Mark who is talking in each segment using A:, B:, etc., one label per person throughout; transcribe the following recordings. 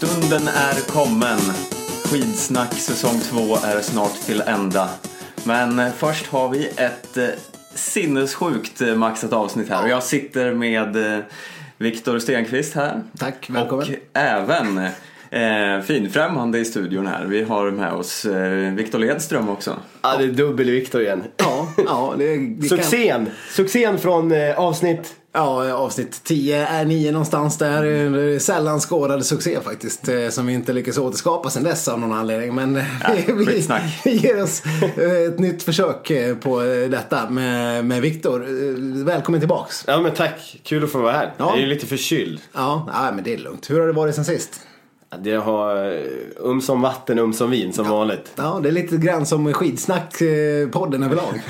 A: Vårmånaden är kommen. Skidsnack säsong 2 är snart till ända. Men först har vi ett eh, sinnessjukt eh, maxat avsnitt här och jag sitter med eh, Viktor Stenqvist här.
B: Tack, välkommen.
A: Och även eh, finfrämmande i studion här. Vi har med oss eh, Viktor Ledström också.
C: Ja, det är dubbel-Viktor igen.
B: Ja, ja, det, det Kan,
C: Succén! Succén från eh, avsnitt...
B: ja, avsnitt 10 är 9 någonstans där. Det är Sällan skådad succé faktiskt. eh, Som vi inte lyckas återskapa sen dess av någon anledning. Men eh,
A: Ja,
B: vi,
A: skitsnack.
B: vi ger oss eh, ett nytt försök eh, på eh, detta med, med Viktor. Eh, Välkommen tillbaks.
C: Ja men tack, kul att få vara här.
B: Ja.
C: Jag är ju lite förkyld.
B: Ja, nej, men det är lugnt. Hur har det varit sen sist?
C: Ja, Det har eh, um som vatten, um som vin som vanligt.
B: Ja, det är lite grann som skidsnack-podden överlag.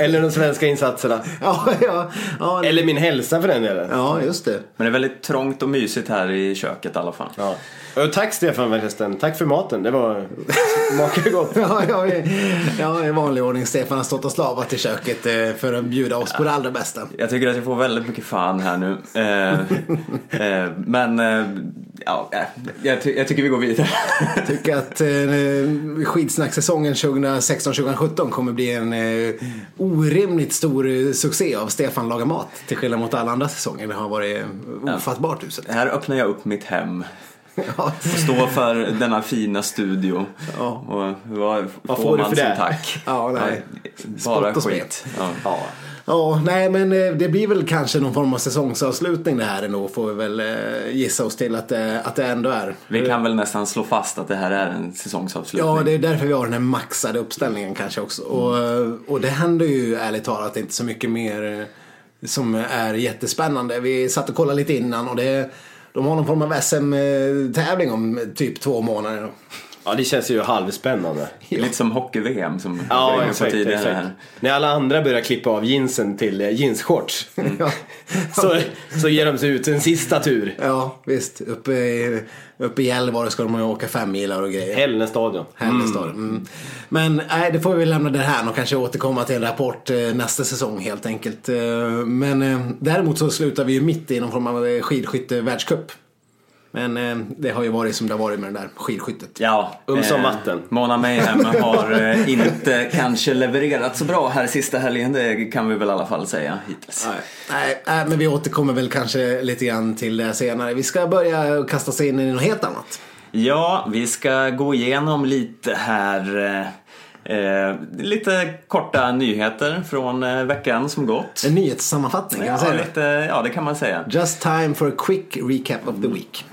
C: Eller de svenska insatserna.
B: ja, ja, ja,
C: Eller min hälsa för den delen.
B: ja, just det.
A: Men det är väldigt trångt och mysigt här i köket i alla fall.
C: Ja. Och tack Stefan förresten, tack för maten. Det var... smakade gott.
B: Ja, ja, i- ja, i vanlig ordning. Stefan har stått och slavat i köket eh, för att bjuda oss på det allra bästa.
A: Jag tycker att jag får väldigt mycket fan här nu. Eh, eh, men eh, ja, eh, jag, ty- jag tycker vi går vidare.
B: Tycker att eh, skidsnacksäsongen 2016-2017 kommer bli en eh, orimligt stor eh, succé av Stefan lagar mat. Till skillnad mot alla andra säsonger. Det har varit eh, ofattbart uselt.
A: här öppnar jag upp mitt hem.
B: Ja.
A: Och står för denna fina studio.
B: Ja.
A: Och vad,
C: Vad får du
A: man
C: för
A: som
C: det?
A: tack?
B: Ja, nej.
A: Bara
B: Spott och
A: skit. Ja.
C: Ja.
B: Ja, nej men eh, det blir väl kanske någon form av säsongsavslutning det här ändå. Får vi väl eh, gissa oss till att, eh, att det ändå är.
A: Vi
C: Eh.
A: kan väl nästan slå fast att det här är en säsongsavslutning.
B: Ja, det är därför vi har den här maxade uppställningen kanske också. Och, och det händer ju ärligt talat inte så mycket mer eh, som är jättespännande. Vi satt och kollade lite innan och det, de har någon form av SM-tävling om typ två månader.
C: ja, det känns ju halvspännande.
A: Lite som hockey-VM som vi var
C: Ja,
A: inne på
C: exakt,
A: tidigare
C: exakt.
A: här.
C: När alla andra börjar klippa av jeansen till eh, jeansshorts
B: Ja.
C: så, så ger de sig ut en sista tur.
B: ja, visst. Uppe i, uppe i Gällivare ska de ju åka fem milar och grejer.
C: Hällnässtadion.
B: Hällestad. Mm. Men nej, det får vi lämna det här och kanske återkomma till en rapport eh, nästa säsong helt enkelt. Eh, Men eh, däremot så slutar vi ju mitt i någon form av eh, skidskytte-världscup. Men eh, det har ju varit som det har varit med det där skidskyttet.
A: Ja, eh,
C: Um som vatten.
A: Mona Mayhem har eh, inte kanske levererat så bra här sista helgen. Det kan vi väl i alla fall säga hittills.
B: Nej, nej, men vi återkommer väl kanske lite grann till det senare. Vi ska börja kasta sig in i något helt annat.
A: Ja, vi ska gå igenom lite här. eh, Eh, lite korta nyheter från eh, veckan som gått.
B: En nyhetssammanfattning, kan man
A: Ja,
B: säga det?
A: lite, ja, det kan man säga.
B: Just time for a quick recap of the week.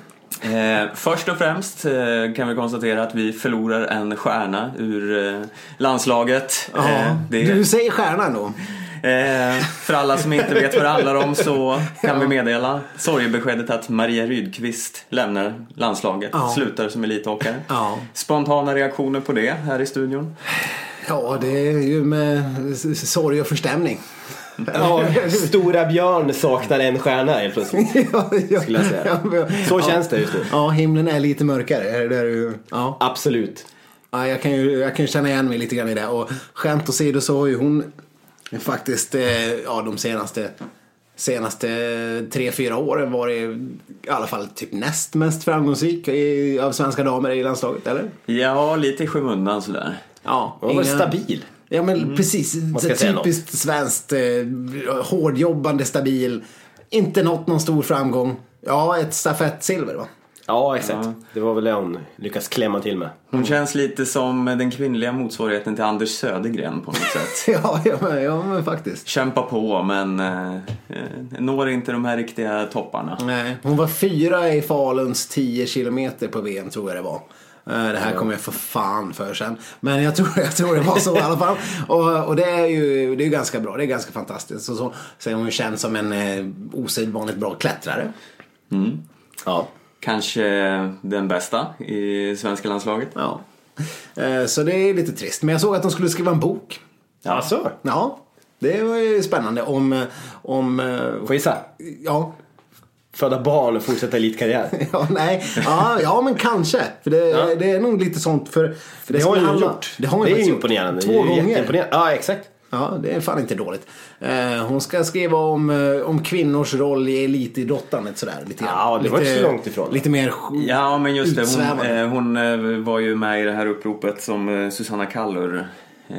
A: Eh, först och främst eh, kan vi konstatera att vi förlorar en stjärna ur eh, landslaget. Eh,
B: Ja,
A: det,
B: Du säger stjärnan då.
A: eh, för alla som inte vet vad det handlar om så kan vi meddela sorgebeskedet att Maria Rydqvist lämnar landslaget,
B: Ja.
A: slutar som elitåkare.
B: Ja.
A: Spontana reaktioner på det här i studion.
B: Ja, det är ju med s- s- sorg och förstämning.
C: Ja, Stora Björn saknar en stjärna helt plötsligt.
B: ja, ja,
C: Skulle jag säga.
B: men-
C: Så
B: ja.
C: känns det just nu.
B: Ja, himlen är lite mörkare. Är det där du- Ja.
C: Absolut.
B: Ja, jag, kan ju, jag kan ju känna igen mig lite grann i det. Och skämt åsido så har ju hon faktiskt eh, ja, de senaste, senaste tre, fyra åren varit i alla fall typ näst mest framgångsrik i, av svenska damer i landslaget, eller?
A: Ja, lite i skymundan sådär.
B: Ja,
C: Hon var stabil.
B: Ja men precis.
C: Mm. ska
B: Så
C: säga något.
B: typiskt svenskt. Eh, hårdjobbande, stabil. Inte nått någon stor framgång. Ja, ett stafettsilver va?
C: Ja, exakt. Det var väl det hon lyckades klämma till med.
A: Hon känns lite som den kvinnliga motsvarigheten till Anders Södergren på något sätt.
B: Ja, ja, men, ja men faktiskt.
A: Kämpa på men eh, eh, når inte de här riktiga topparna.
B: Nej, hon var fyra i Faluns 10 kilometer på VM tror jag det var. Eh, Det här kommer jag för fan för sen. Men jag tror, jag tror det var så i alla fall. Och, och det är ju det är ju ganska bra. Det är ganska fantastiskt. Så, så, så är hon ju känd som en eh, osedvanligt bra klättrare.
C: Ja.
A: Kanske den bästa i svenska landslaget.
B: Ja. Eh, Så det är lite trist. Men jag såg att de skulle skriva en bok.
C: Alltså?
B: Ja, det var ju spännande om... eh, om eh,
C: Får jag gissa?
B: ja,
C: Föda barn och fortsätta elitkarriär.
B: ja, nej. Ja, ja, men kanske. För det,
C: Ja.
B: det är nog lite sånt. För, för
C: Det har
B: skulle
C: hon ju
B: handla-
C: gjort.
B: Det har hon
C: är
B: faktiskt
C: imponerande.
B: Gjort. Två
C: det är
B: gånger.
C: jätteimponerande. Ja, exakt.
B: Ja, det är fan inte dåligt. Eh, hon ska skriva om, eh, om kvinnors roll i elitidrottandet sådär. Lite grann.
C: Ja, det var
B: lite,
C: inte så långt ifrån.
B: Lite mer sj-
A: Ja, men just det. Hon,
B: utsvävande.
A: eh, hon eh, var ju med i det här uppropet som eh, Susanna Kallur eh,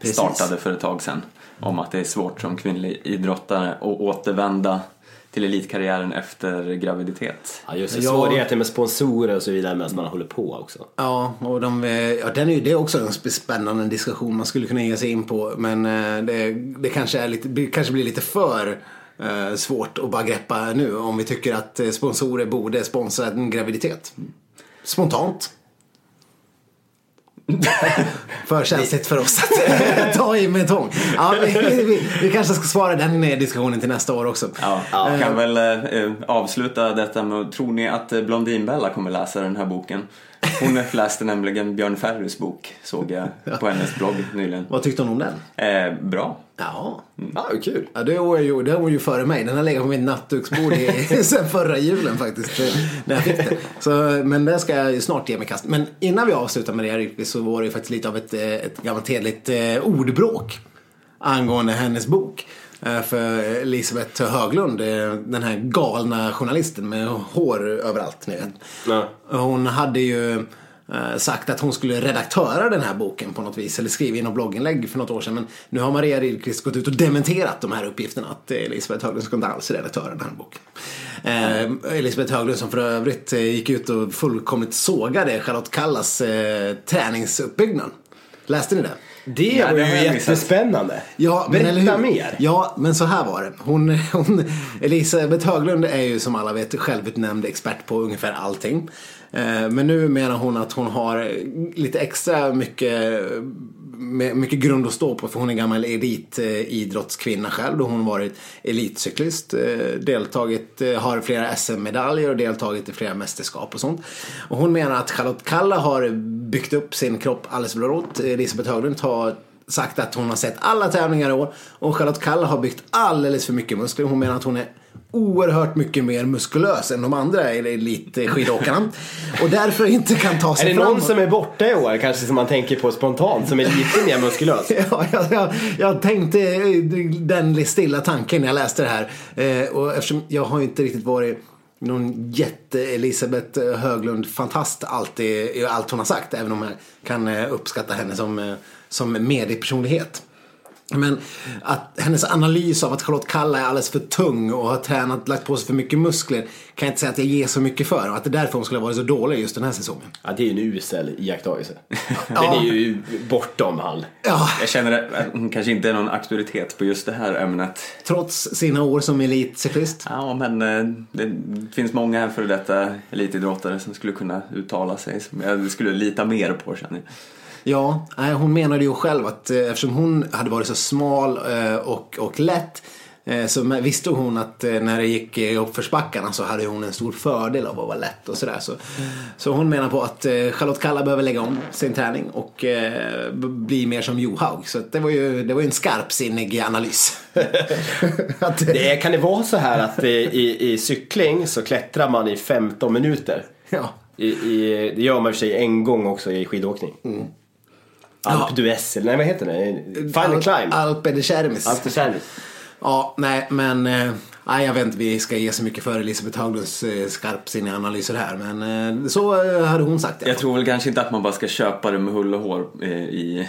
B: Precis.
A: startade för ett tag sedan. Om att det är svårt som kvinnlig idrottare att återvända till elitkarriären efter graviditet.
D: Ja, just det.
B: Ja.
D: Svårigheter med sponsorer och så vidare medan man håller på också.
B: Ja, och de, eh, ja, den är, ju- det är också en sp- spännande diskussion man skulle kunna ge sig in på. Men eh, det, det kanske, är lite, blir- kanske blir lite för eh, svårt att bara greppa nu om vi tycker att eh, sponsorer borde sponsra en graviditet. Spontant. för känsligt för oss att eh, ta i med tång. Ja, vi, vi, vi kanske ska svara den eh, diskussionen till nästa år också.
A: Ja, jag kan väl eh, eh, avsluta detta med, tror ni att eh, Blondinbella kommer läsa den här boken? Hon läste nämligen Björn Ferrys bok, såg jag på hennes blogg nyligen.
B: Vad tyckte hon om den?
A: Eh, bra.
B: Ja.
C: Ja, det är kul.
B: Ja, det var ju, det var ju före mig. Den har legat på mitt nattduksbord i- sen förra julen faktiskt. eh, När jag fick den. Så, men det ska jag ju snart ge mig i kast. Men innan vi avslutar med det här Rickby, så var det ju faktiskt lite av ett, eh, ett gammalt hederligt eh, ordbråk angående hennes bok. Eh, För Elisabeth Höglund, eh, den här galna journalisten med hår överallt. Ni vet.
C: Ja.
B: Hon hade ju eh, sagt att hon skulle redaktöra den här boken på något vis. Eller skriva i något blogginlägg för något år sedan. Men nu har Maria Rydqvist gått ut och dementerat de här uppgifterna. Att eh, Elisabeth Höglund ska inte alls redaktöra den här boken. Eh, Elisabeth Höglund som för övrigt eh, gick ut och fullkomligt sågade Charlotte Kallas eh, träningsuppbyggnad. Läste ni det? liksom-
C: Det
A: Ja,
C: var
A: det har
C: ju
A: jag missat.
C: jättespännande.
B: Ja, men
C: Berätta
B: eller hur?
C: mer.
B: Ja, men så här var det. Hon, hon, Elisabeth Höglund är ju som alla vet självutnämnd expert på ungefär allting. Eh, Men nu menar hon att hon har lite extra mycket, med- mycket grund att stå på för hon är gammal elitidrottskvinna själv. Då hon varit elitcyklist, eh, deltagit, eh, har flera SM-medaljer och deltagit i flera mästerskap och sånt. Och hon menar att Charlotte Kalla har byggt upp sin kropp alldeles brått. Elisabeth Höglund har sagt att hon har sett alla tävlingar i år och Charlotte Kalla har byggt alldeles för mycket muskler. Hon menar att hon är oerhört mycket mer muskulös än de andra eller elitskidåkarna och därför inte kan ta
C: Är
B: sig
C: det
B: fram.
C: någon som är borta i år kanske som man tänker på spontant som är lite mer muskulös?
B: Ja, jag, jag, jag tänkte eh, den stilla tanken när jag läste det här. Eh, och eftersom jag har ju inte riktigt varit någon jätte-Elisabeth eh, Höglund-fantast alltid i allt hon har sagt. Även om jag kan eh, uppskatta henne som, eh, som mediepersonlighet. Men att hennes analys av att Charlotte Kalla är alldeles för tung och har tränat, lagt på sig för mycket muskler kan jag inte säga att jag ger så mycket för. Och att det är därför hon skulle ha varit så dålig just den här säsongen.
C: Ja, det är ju en usel iakttagelse. Den
B: Ja.
C: är ju bortom all.
B: Ja,
A: Jag känner att hon kanske inte är någon auktoritet på just det här ämnet.
B: trots sina år som elitcyklist.
A: Ja, men eh, det finns många före detta elitidrottare som skulle kunna uttala sig som jag skulle lita mer på känner jag.
B: Ja, nej, hon menade ju själv att eh, eftersom hon hade varit så smal eh, och, och lätt eh, så me- visste hon att eh, när det gick i uppförsbackarna så hade hon en stor fördel av att vara lätt och sådär. Så, så hon menar på att eh, Charlotte Kalla behöver lägga om sin träning och eh, b- bli mer som Johaug. Så att det var ju det var ju en skarpsinnig analys. att,
C: Det är, kan det vara så här att eh, i, i cykling så klättrar man i 15 minuter?
B: ja.
C: I, i, det gör man i och för sig en gång också i skidåkning.
B: Mm.
C: Alp d'Huez, eller nej vad heter det? Final climb.
B: Alpe de Cermis.
C: Alp d'Huez.
B: Ja, nej, men eh, nej, jag vet inte, vi ska ge så mycket för Elisabeth Haglunds eh, skarpsinniga analyser här. Men eh, så eh, hade hon sagt. Ja.
A: Jag tror väl kanske inte att man bara ska köpa det med hull och hår eh, i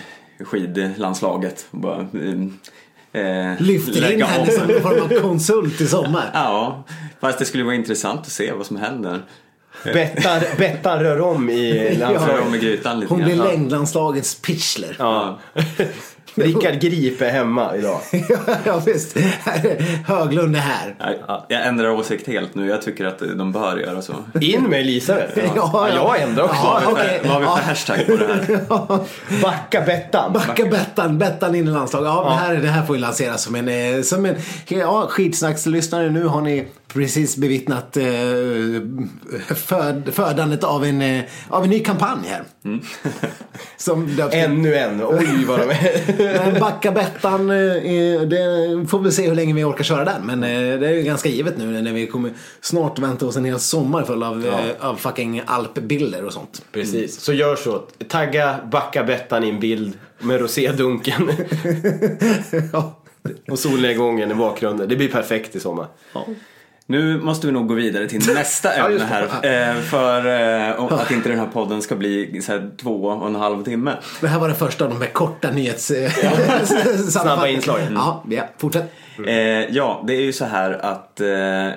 A: skidlandslaget. Och bara, eh, eh,
B: Lyfter in
A: lägga
B: henne
A: om.
B: som någon form av konsult i sommar.
A: Ja, fast det skulle vara intressant att se vad som händer.
C: Bettan, Bettan rör om i
A: Rör om i
C: landslaget.
A: grytan lite
B: Hon blir
A: grann.
B: längdlandslagets pitchler.
C: Ja. Rickard Grip är hemma idag.
B: ja, visst. Höglund är här.
A: Ja. Jag ändrar åsikt helt nu. Jag tycker att de bör göra så.
C: In med Elisabeth. jag ändrar också.
B: Ja,
A: Vad har vi
B: okej.
A: för, vad har vi för
B: Ja.
A: hashtag på det här?
C: Backa Bettan.
B: Backa Bettan, Bettan in i landslaget. Ja, men Det, här, det här får ju lanseras som en, eh, som en ja, skitsnackslyssnare. Nu har ni precis bevittnat eh, föd, födandet av en, eh, av en ny kampanj här. Som döps till
C: Ännu en. Oj vad de är.
B: Men Backa Bettan, eh, det får vi se hur länge vi orkar köra den. Men eh, det är ju ganska givet nu när vi kommer snart vänta oss en hel sommar full av, eh, av fucking alpbilder och sånt.
C: Precis.
D: Så gör så. Tagga backa Bettan i en bild med rosédunken
B: ja.
D: och solnedgången i bakgrunden. Det blir perfekt i sommar.
A: Nu måste vi nog gå vidare till nästa ämne
B: just det.
A: här. eh, För eh, om- att inte den här podden ska bli så här två och en halv timme.
B: Det här var den första av de här korta nyhets... Snabba
D: inslag.
A: Mm.
B: Ja, ja, fortsätt.
A: Eh, Ja, det är ju så här att eh,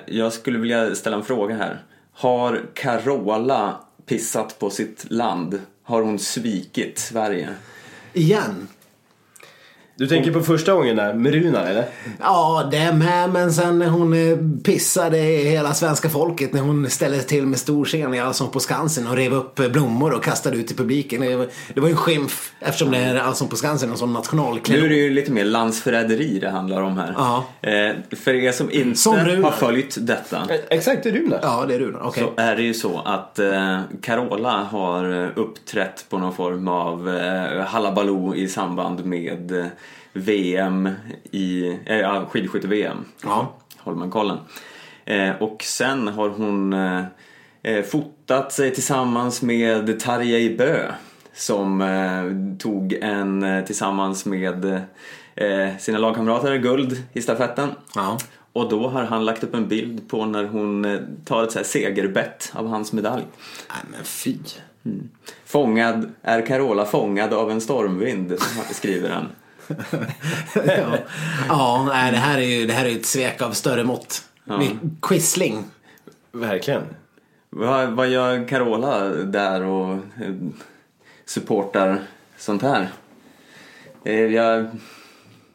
A: jag skulle vilja ställa en fråga här. Har Carola pissat på sitt land? Har hon svikit Sverige?
B: Igen.
D: Du tänker på första gången där med Runar eller?
B: Ja, det med. Men sen när hon eh, pissade i hela svenska folket när hon ställde till med stor scen i Allsång på Skansen och rev upp eh, blommor och kastade ut i publiken. Det var, det var ju en skymf eftersom det är Allsång på Skansen en sån
A: Nu är
B: nationalklenod.
A: det ju lite mer landsförräderi det handlar om här.
B: Ja.
A: Eh, För er som inte
B: Som Runar.
A: har följt detta.
D: Eh, Exakt, det är Runar.
B: Ja, det är du då. Okej.
A: så är det ju så att eh, Carola har eh, uppträtt på någon form av eh, hallabaloo i samband med eh, VM i eh, ja, skidskytte-VM.
B: Ja.
A: Holmenkollen. Eh, och sen har hon eh, eh, fotat sig tillsammans med Tarjei Bø som eh, tog en eh, tillsammans med eh, sina lagkamrater guld i stafetten.
B: Ja.
A: Och då har han lagt upp en bild på när hon eh, tar ett så här segerbett av hans medalj. Mm.
B: Nej men fy.
A: Fångad, är Carola fångad av en stormvind, skriver han.
B: ja, ja nej, det, här är ju, det här är ju ett svek av större mått. Vi- Quisling.
D: Verkligen.
A: Vad, vad gör Carola där och eh, supportar sånt här? Eh, Jag,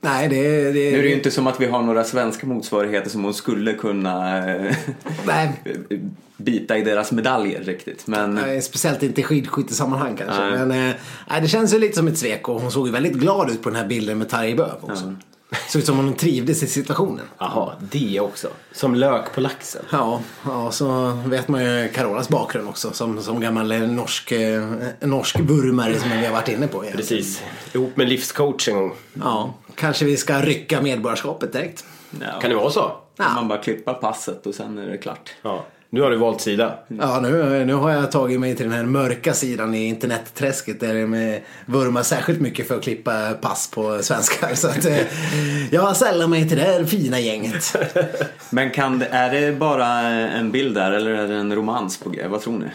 B: Nej, det, det,
A: nu är det ju inte som att vi har några svenska motsvarigheter som hon skulle kunna eh,
B: Nej,
A: bita i deras medaljer riktigt. Men
B: Nej, speciellt inte i skidskyttesammanhang kanske.
A: Nej.
B: Men eh, nej, det känns ju lite som ett svek och hon såg ju väldigt glad ut på den här bilden med Tarjei Böök också. Såg ut som om hon trivdes i situationen.
D: Jaha, det också. Som lök på laxen.
B: Ja, ja, så vet man ju Carolas bakgrund också som, som gammal eh, norsk, eh, norsk vurmare som vi har varit inne på. igen.
D: Precis. Ihop med livscoach en gång.
B: Ja, kanske vi ska rycka medborgarskapet direkt.
A: ja,
D: Kan det vara så?
A: kan man bara klippa passet och sen är det klart.
D: Ja. Nu har du valt sida.
B: Ja, nu, nu har jag tagit mig till den här mörka sidan i internetträsket där det med vurmar särskilt mycket för att klippa pass på svenskar. Så att, eh, jag sällar mig till det här fina gänget.
A: Men kan det, är det bara en bild där eller är det en romans på g? Vad tror ni?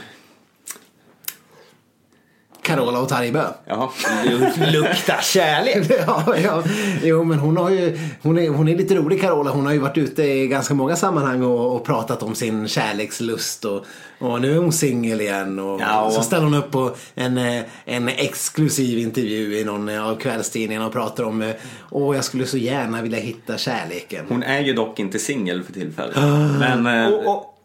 B: Carola och Tarjei Bø.
A: Jaha.
D: Luktar kärlek.
B: Ja, ja. Jo, men hon, har ju, hon, är, hon är lite rolig Carola. Hon har ju varit ute i ganska många sammanhang och, och pratat om sin kärlekslust. Och, och nu är hon singel igen. Och,
A: Ja, och-
B: Så ställer hon upp på en, eh, en exklusiv intervju i någon eh, av kvällstidningarna och pratar om eh, Åh, jag skulle så gärna vilja hitta kärleken.
A: Hon är ju dock inte singel för tillfället. Men, eh,
B: Oh,
D: Och, och,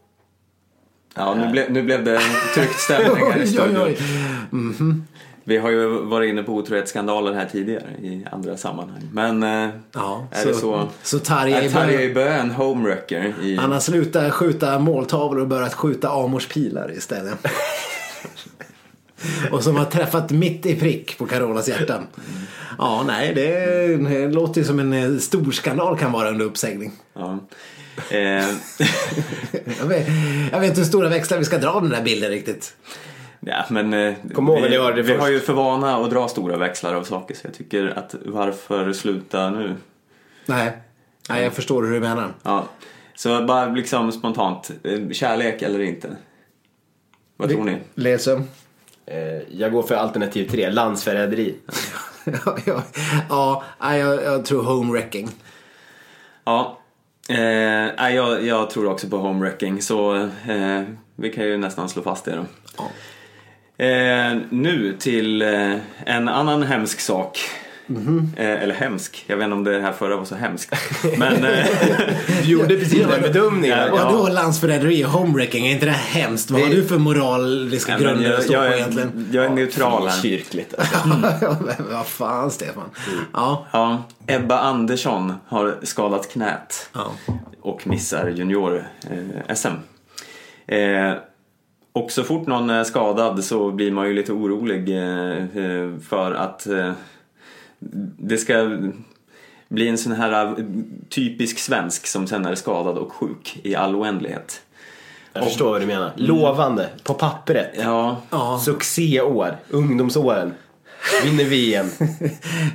A: Ja, nu, ble, nu blev det tryckt stämning här i
B: Oj,
A: studion.
B: oj,
A: Vi har ju varit inne på otrohetsskandaler här tidigare i andra sammanhang. Men eh,
B: Ja,
A: är
B: så-
A: det så?
B: så Tarjei
A: Är Tarjei Bø en homewrecker? I...
B: Han har slutat skjuta måltavlor och börjat skjuta Amors pilar istället. och som har träffat mitt i prick på Carolas hjärta. Ja, nej, det, det låter ju som en eh, stor skandal kan vara under uppsägning.
A: Ja. Eh,
B: Jag vet, jag vet inte hur stora växlar vi ska dra av den där bilden riktigt.
A: ja, men, eh,
D: Kom ihåg att
A: vi,
D: jag hörde det
A: vi har
D: först.
A: ju för vana att dra stora växlar av saker så jag tycker att varför sluta nu?
B: Nej, nej jag förstår hur du menar.
A: Ja. Så bara liksom spontant, eh, kärlek eller inte? Vad tror ni?
B: Läsum.
D: eh, jag går för alternativ tre, landsförräderi.
B: ja, ja, ja, nej, jag, jag tror homewrecking.
A: Ja, eh, nej, jag, jag tror också på homewrecking så eh, vi kan ju nästan slå fast det då.
B: Ja.
A: Eh, nu till eh, en annan hemsk sak.
B: Mhm.
A: Eh, eller hemsk. Jag vet inte om det här förra var så hemskt. Men eh,
C: Du gjorde precis den bedömningen.
A: Ja,
B: Vadå landsförräderi och homewrecking? Är inte det hemskt? Vad har du för moraliska
A: nej, men
B: grunder att
A: jag,
B: stå
A: jag,
B: på
A: är, Mm.
B: egentligen?
A: jag är neutral här.
C: Kyrkligt.
B: Men Vad fan Stefan.
A: Mm.
B: Ja.
A: Ja, Ebba Andersson har skadat knät
B: Ja.
A: och missar junior-SM. Eh, och så fort någon är skadad så blir man ju lite orolig eh, eh, för att eh, det ska bli en sån här eh, typisk svensk som sen är skadad och sjuk i all oändlighet.
C: Jag förstår vad du menar. Lovande, på pappret.
A: Ja,
B: Ja.
C: Succéår, ungdomsåren. Vinner VM,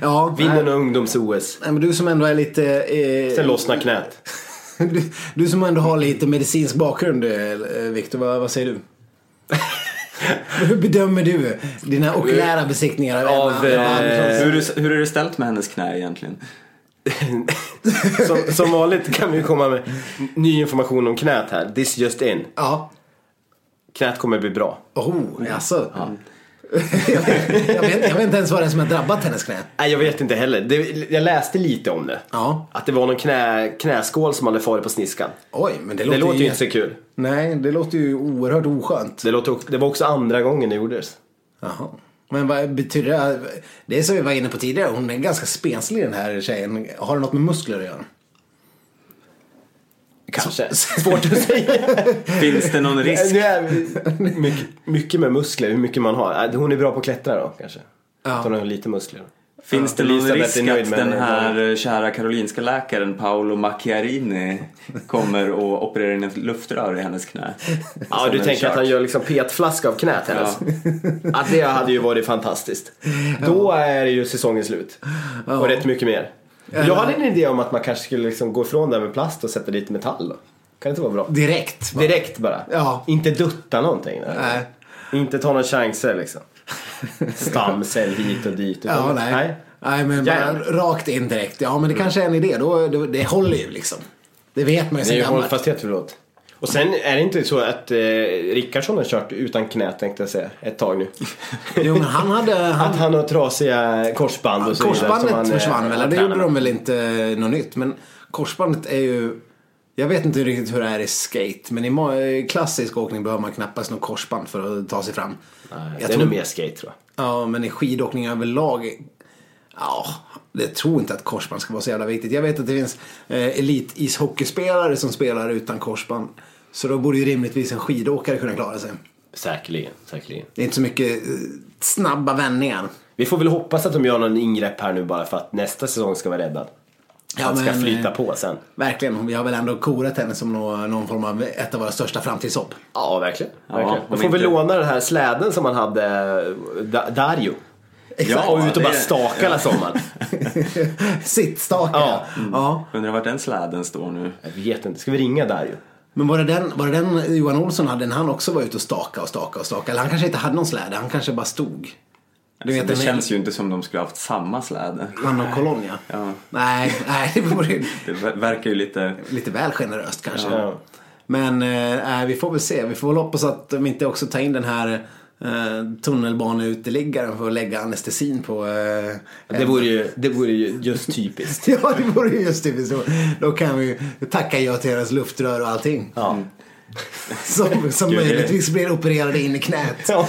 B: ja.
C: vinner någon ungdoms-OS.
B: Nej, men du som ändå är lite... Eh,
C: Sen lossnar knät.
B: du, du som ändå har lite medicinsk bakgrund, eh, Viktor. Vad, vad säger du? Hur bedömer du dina okulära besiktningar av,
C: Av,
B: Ebba
C: eh,
B: Andersson?
A: hur, är- hur är det ställt med hennes knä egentligen?
C: Som, som vanligt kan vi komma med ny information om knät här. This just in.
B: Ja.
C: Knät kommer bli bra.
B: Oh, alltså. jag, vet, jag, vet, jag vet inte ens vad det är som har drabbat hennes knä.
C: Nej, jag vet inte heller. Det, jag läste lite om det.
B: Ja.
C: Att det var någon knä, knäskål som hade farit på sniskan.
B: Oj, men det,
C: Det låter ju
B: ju
C: inte så kul.
B: Nej, det låter ju oerhört oskönt.
C: Det, låter, det var också andra gången det gjordes.
B: Jaha. Men vad betyder det? Det är som vi var inne på tidigare, hon är ganska spenslig den här tjejen. Har det något med muskler att göra?
C: Kanske. Svårt att säga.
A: Finns det någon risk?
C: Nu är vi- mycket, mycket med muskler, hur mycket man har. Äh, Hon är bra på att klättra då kanske.
B: Ja.
C: Att Hon har lite muskler.
A: Finns det någon
C: Elisabeth
A: risk
C: är nöjd
A: att
C: med
A: den
C: mig.
A: här eh, kära karolinska läkaren Paolo Macchiarini kommer och opererar in ett luftrör i hennes knä?
C: Ja, du tänker att han gör liksom petflaska av knät hennes. Ja, det hade ju varit fantastiskt. Då är ju säsongen slut. Och rätt mycket mer. Jag hade en idé om att man kanske skulle liksom gå ifrån det här med plast och sätta dit metall då. Kan det inte vara bra?
B: Direkt. va?
C: Direkt bara.
B: Ja.
C: Inte dutta någonting. där.
B: Nej.
C: Inte ta några chanser liksom. Stamcell hit och dit. utan-
B: Ja, nej. nej. men bara
C: Järn.
B: rakt in direkt. Ja, men
C: Mm.
B: det kanske är en idé. Då, då, det håller ju liksom. Det vet man ju
C: Det är
B: sen
C: ju
B: gammalt.
C: hållfasthet förlåt. Och sen är det inte så att eh, Rickardsson har kört utan knä tänkte jag säga ett tag nu.
B: Jo, men han hade... Han,
C: Att han har trasiga korsband och så vidare.
B: korsbandet
C: som han, eh,
B: försvann väl? Det
C: tränar
B: gjorde
C: med.
B: de väl inte eh, något nytt. Men korsbandet är ju... Jag vet inte riktigt hur det är i skate, men i ma- i klassisk åkning behöver man knappast något korsband för att ta sig fram.
C: Nej,
B: Jag
C: det är
B: tror-
C: nog mer skate tror jag.
B: Ja, men i skidåkning överlag. Ja, det tror inte att korsband ska vara så jävla viktigt. Jag vet att det finns eh, elitishockeyspelare som spelar utan korsband. Så då borde ju rimligtvis en skidåkare kunna klara sig.
C: Säkerligen, säkerligen.
B: Det är inte så mycket eh, snabba vändningar.
C: Vi får väl hoppas att de gör någon ingrepp här nu bara för att nästa säsong ska vara räddad.
B: Ja,
C: han ska
B: men,
C: flyta
B: eh,
C: på sen.
B: Verkligen, vi har väl ändå korat henne som nå- någon form av ett av våra största framtidshopp.
C: Ja, verkligen.
A: Ja,
C: verkligen.
A: om
C: Då får vi
A: inte-
C: låna den här släden som han hade, eh, Da- Dario.
B: Exakt.
C: och ut och bara
A: det-
C: staka hela sommaren.
B: Sittstaka. Ja.
C: Ja.
B: Mm. ja.
A: Undrar vart den släden står nu.
C: Jag vet inte, ska vi ringa Dario?
B: Men var det, den, var det den Johan Olsson hade när han också var ute och staka och staka och staka? Eller han kanske inte hade någon släde, han kanske bara stod. Du vet,
A: det
B: den-
A: känns ju inte som de skulle haft samma släde.
B: Han och Colonia?
A: Ja.
B: Nej, nej, det vore ju
A: Det ver- verkar ju lite...
B: lite väl generöst kanske.
C: Ja.
B: Men eh, nej, vi får väl se. Vi får väl hoppas att de inte också tar in den här eh, tunnelbaneuteliggaren för att lägga anestesin på... Eh,
C: Det vore ju, det vore ju just typiskt.
B: Ja, det vore ju just typiskt så. Då kan vi ju tacka ja till deras luftrör och allting.
C: Ja.
B: Som, som
A: Gud, det-
B: möjligtvis blir opererade in i knät. Ja.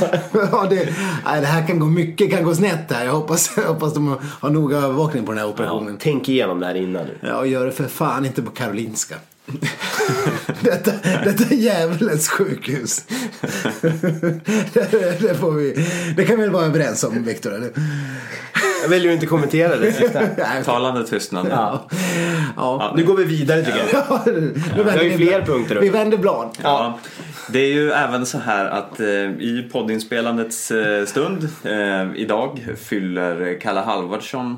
B: det, nej, det här kan gå mycket kan gå snett där. Jag hoppas, jag hoppas de har noga övervakning på den här operationen.
C: Tänk igenom det här innan nu.
B: Ja, och gör det för fan inte på Karolinska. detta, detta är djävulens sjukhus. det, det, får vi, det kan vi väl vara överens om, Viktor? Eller?
C: Jag vill ju inte kommentera det sista.
B: Nej,
A: Talande tystnad.
C: Ja.
B: ja.
C: Nu går vi vidare tycker jag.
B: Ja, nu vänder
C: har ju
B: vi
C: fler
B: blad.
C: punkter upp.
B: Vi vänder blad.
A: Ja. Det är ju även så här att eh, i poddinspelandets eh, stund eh, idag fyller Kalle Halvardsson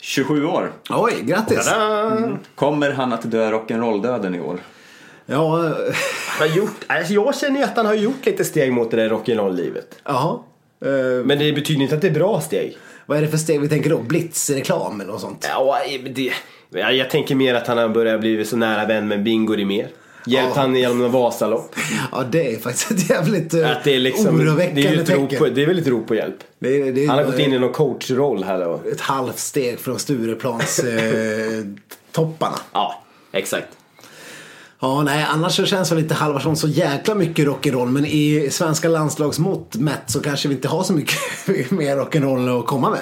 A: 27 år.
B: Oj, grattis.
A: Kommer han att dö rock'n'roll-döden i år?
B: Ja, eh,
C: Han har gjort, alltså jag känner ju att han har gjort lite steg mot det där rock'n'roll-livet.
B: jaha. Eh,
C: Men det betyder inte att det är bra steg.
B: vad är det för steg vi tänker då? Blitzreklam
C: eh,
B: eller något sånt?
C: Ja, men det, Ja, jag tänker mer att han har börjat bli så nära vän med Bingo mer. Hjälpt
B: Ja.
C: han genom en Vasalopp.
B: Ja, det är faktiskt ett jävligt eh,
C: Att det är liksom,
B: oroväckande
C: det är ju ett rop,
B: tecken.
C: på- det är väl ett rop på hjälp.
B: Det är- det är-
C: Han har gått in i någon coachroll här då.
B: ett halvt steg från Stureplans eh, topparna.
C: Ja, exakt.
B: Ja, nej, annars så känns väl inte Halvarsson så jäkla mycket rock'n'roll. Men i svenska landslagsmått mätt så kanske vi inte har så mycket mer rock'n'roll att komma med.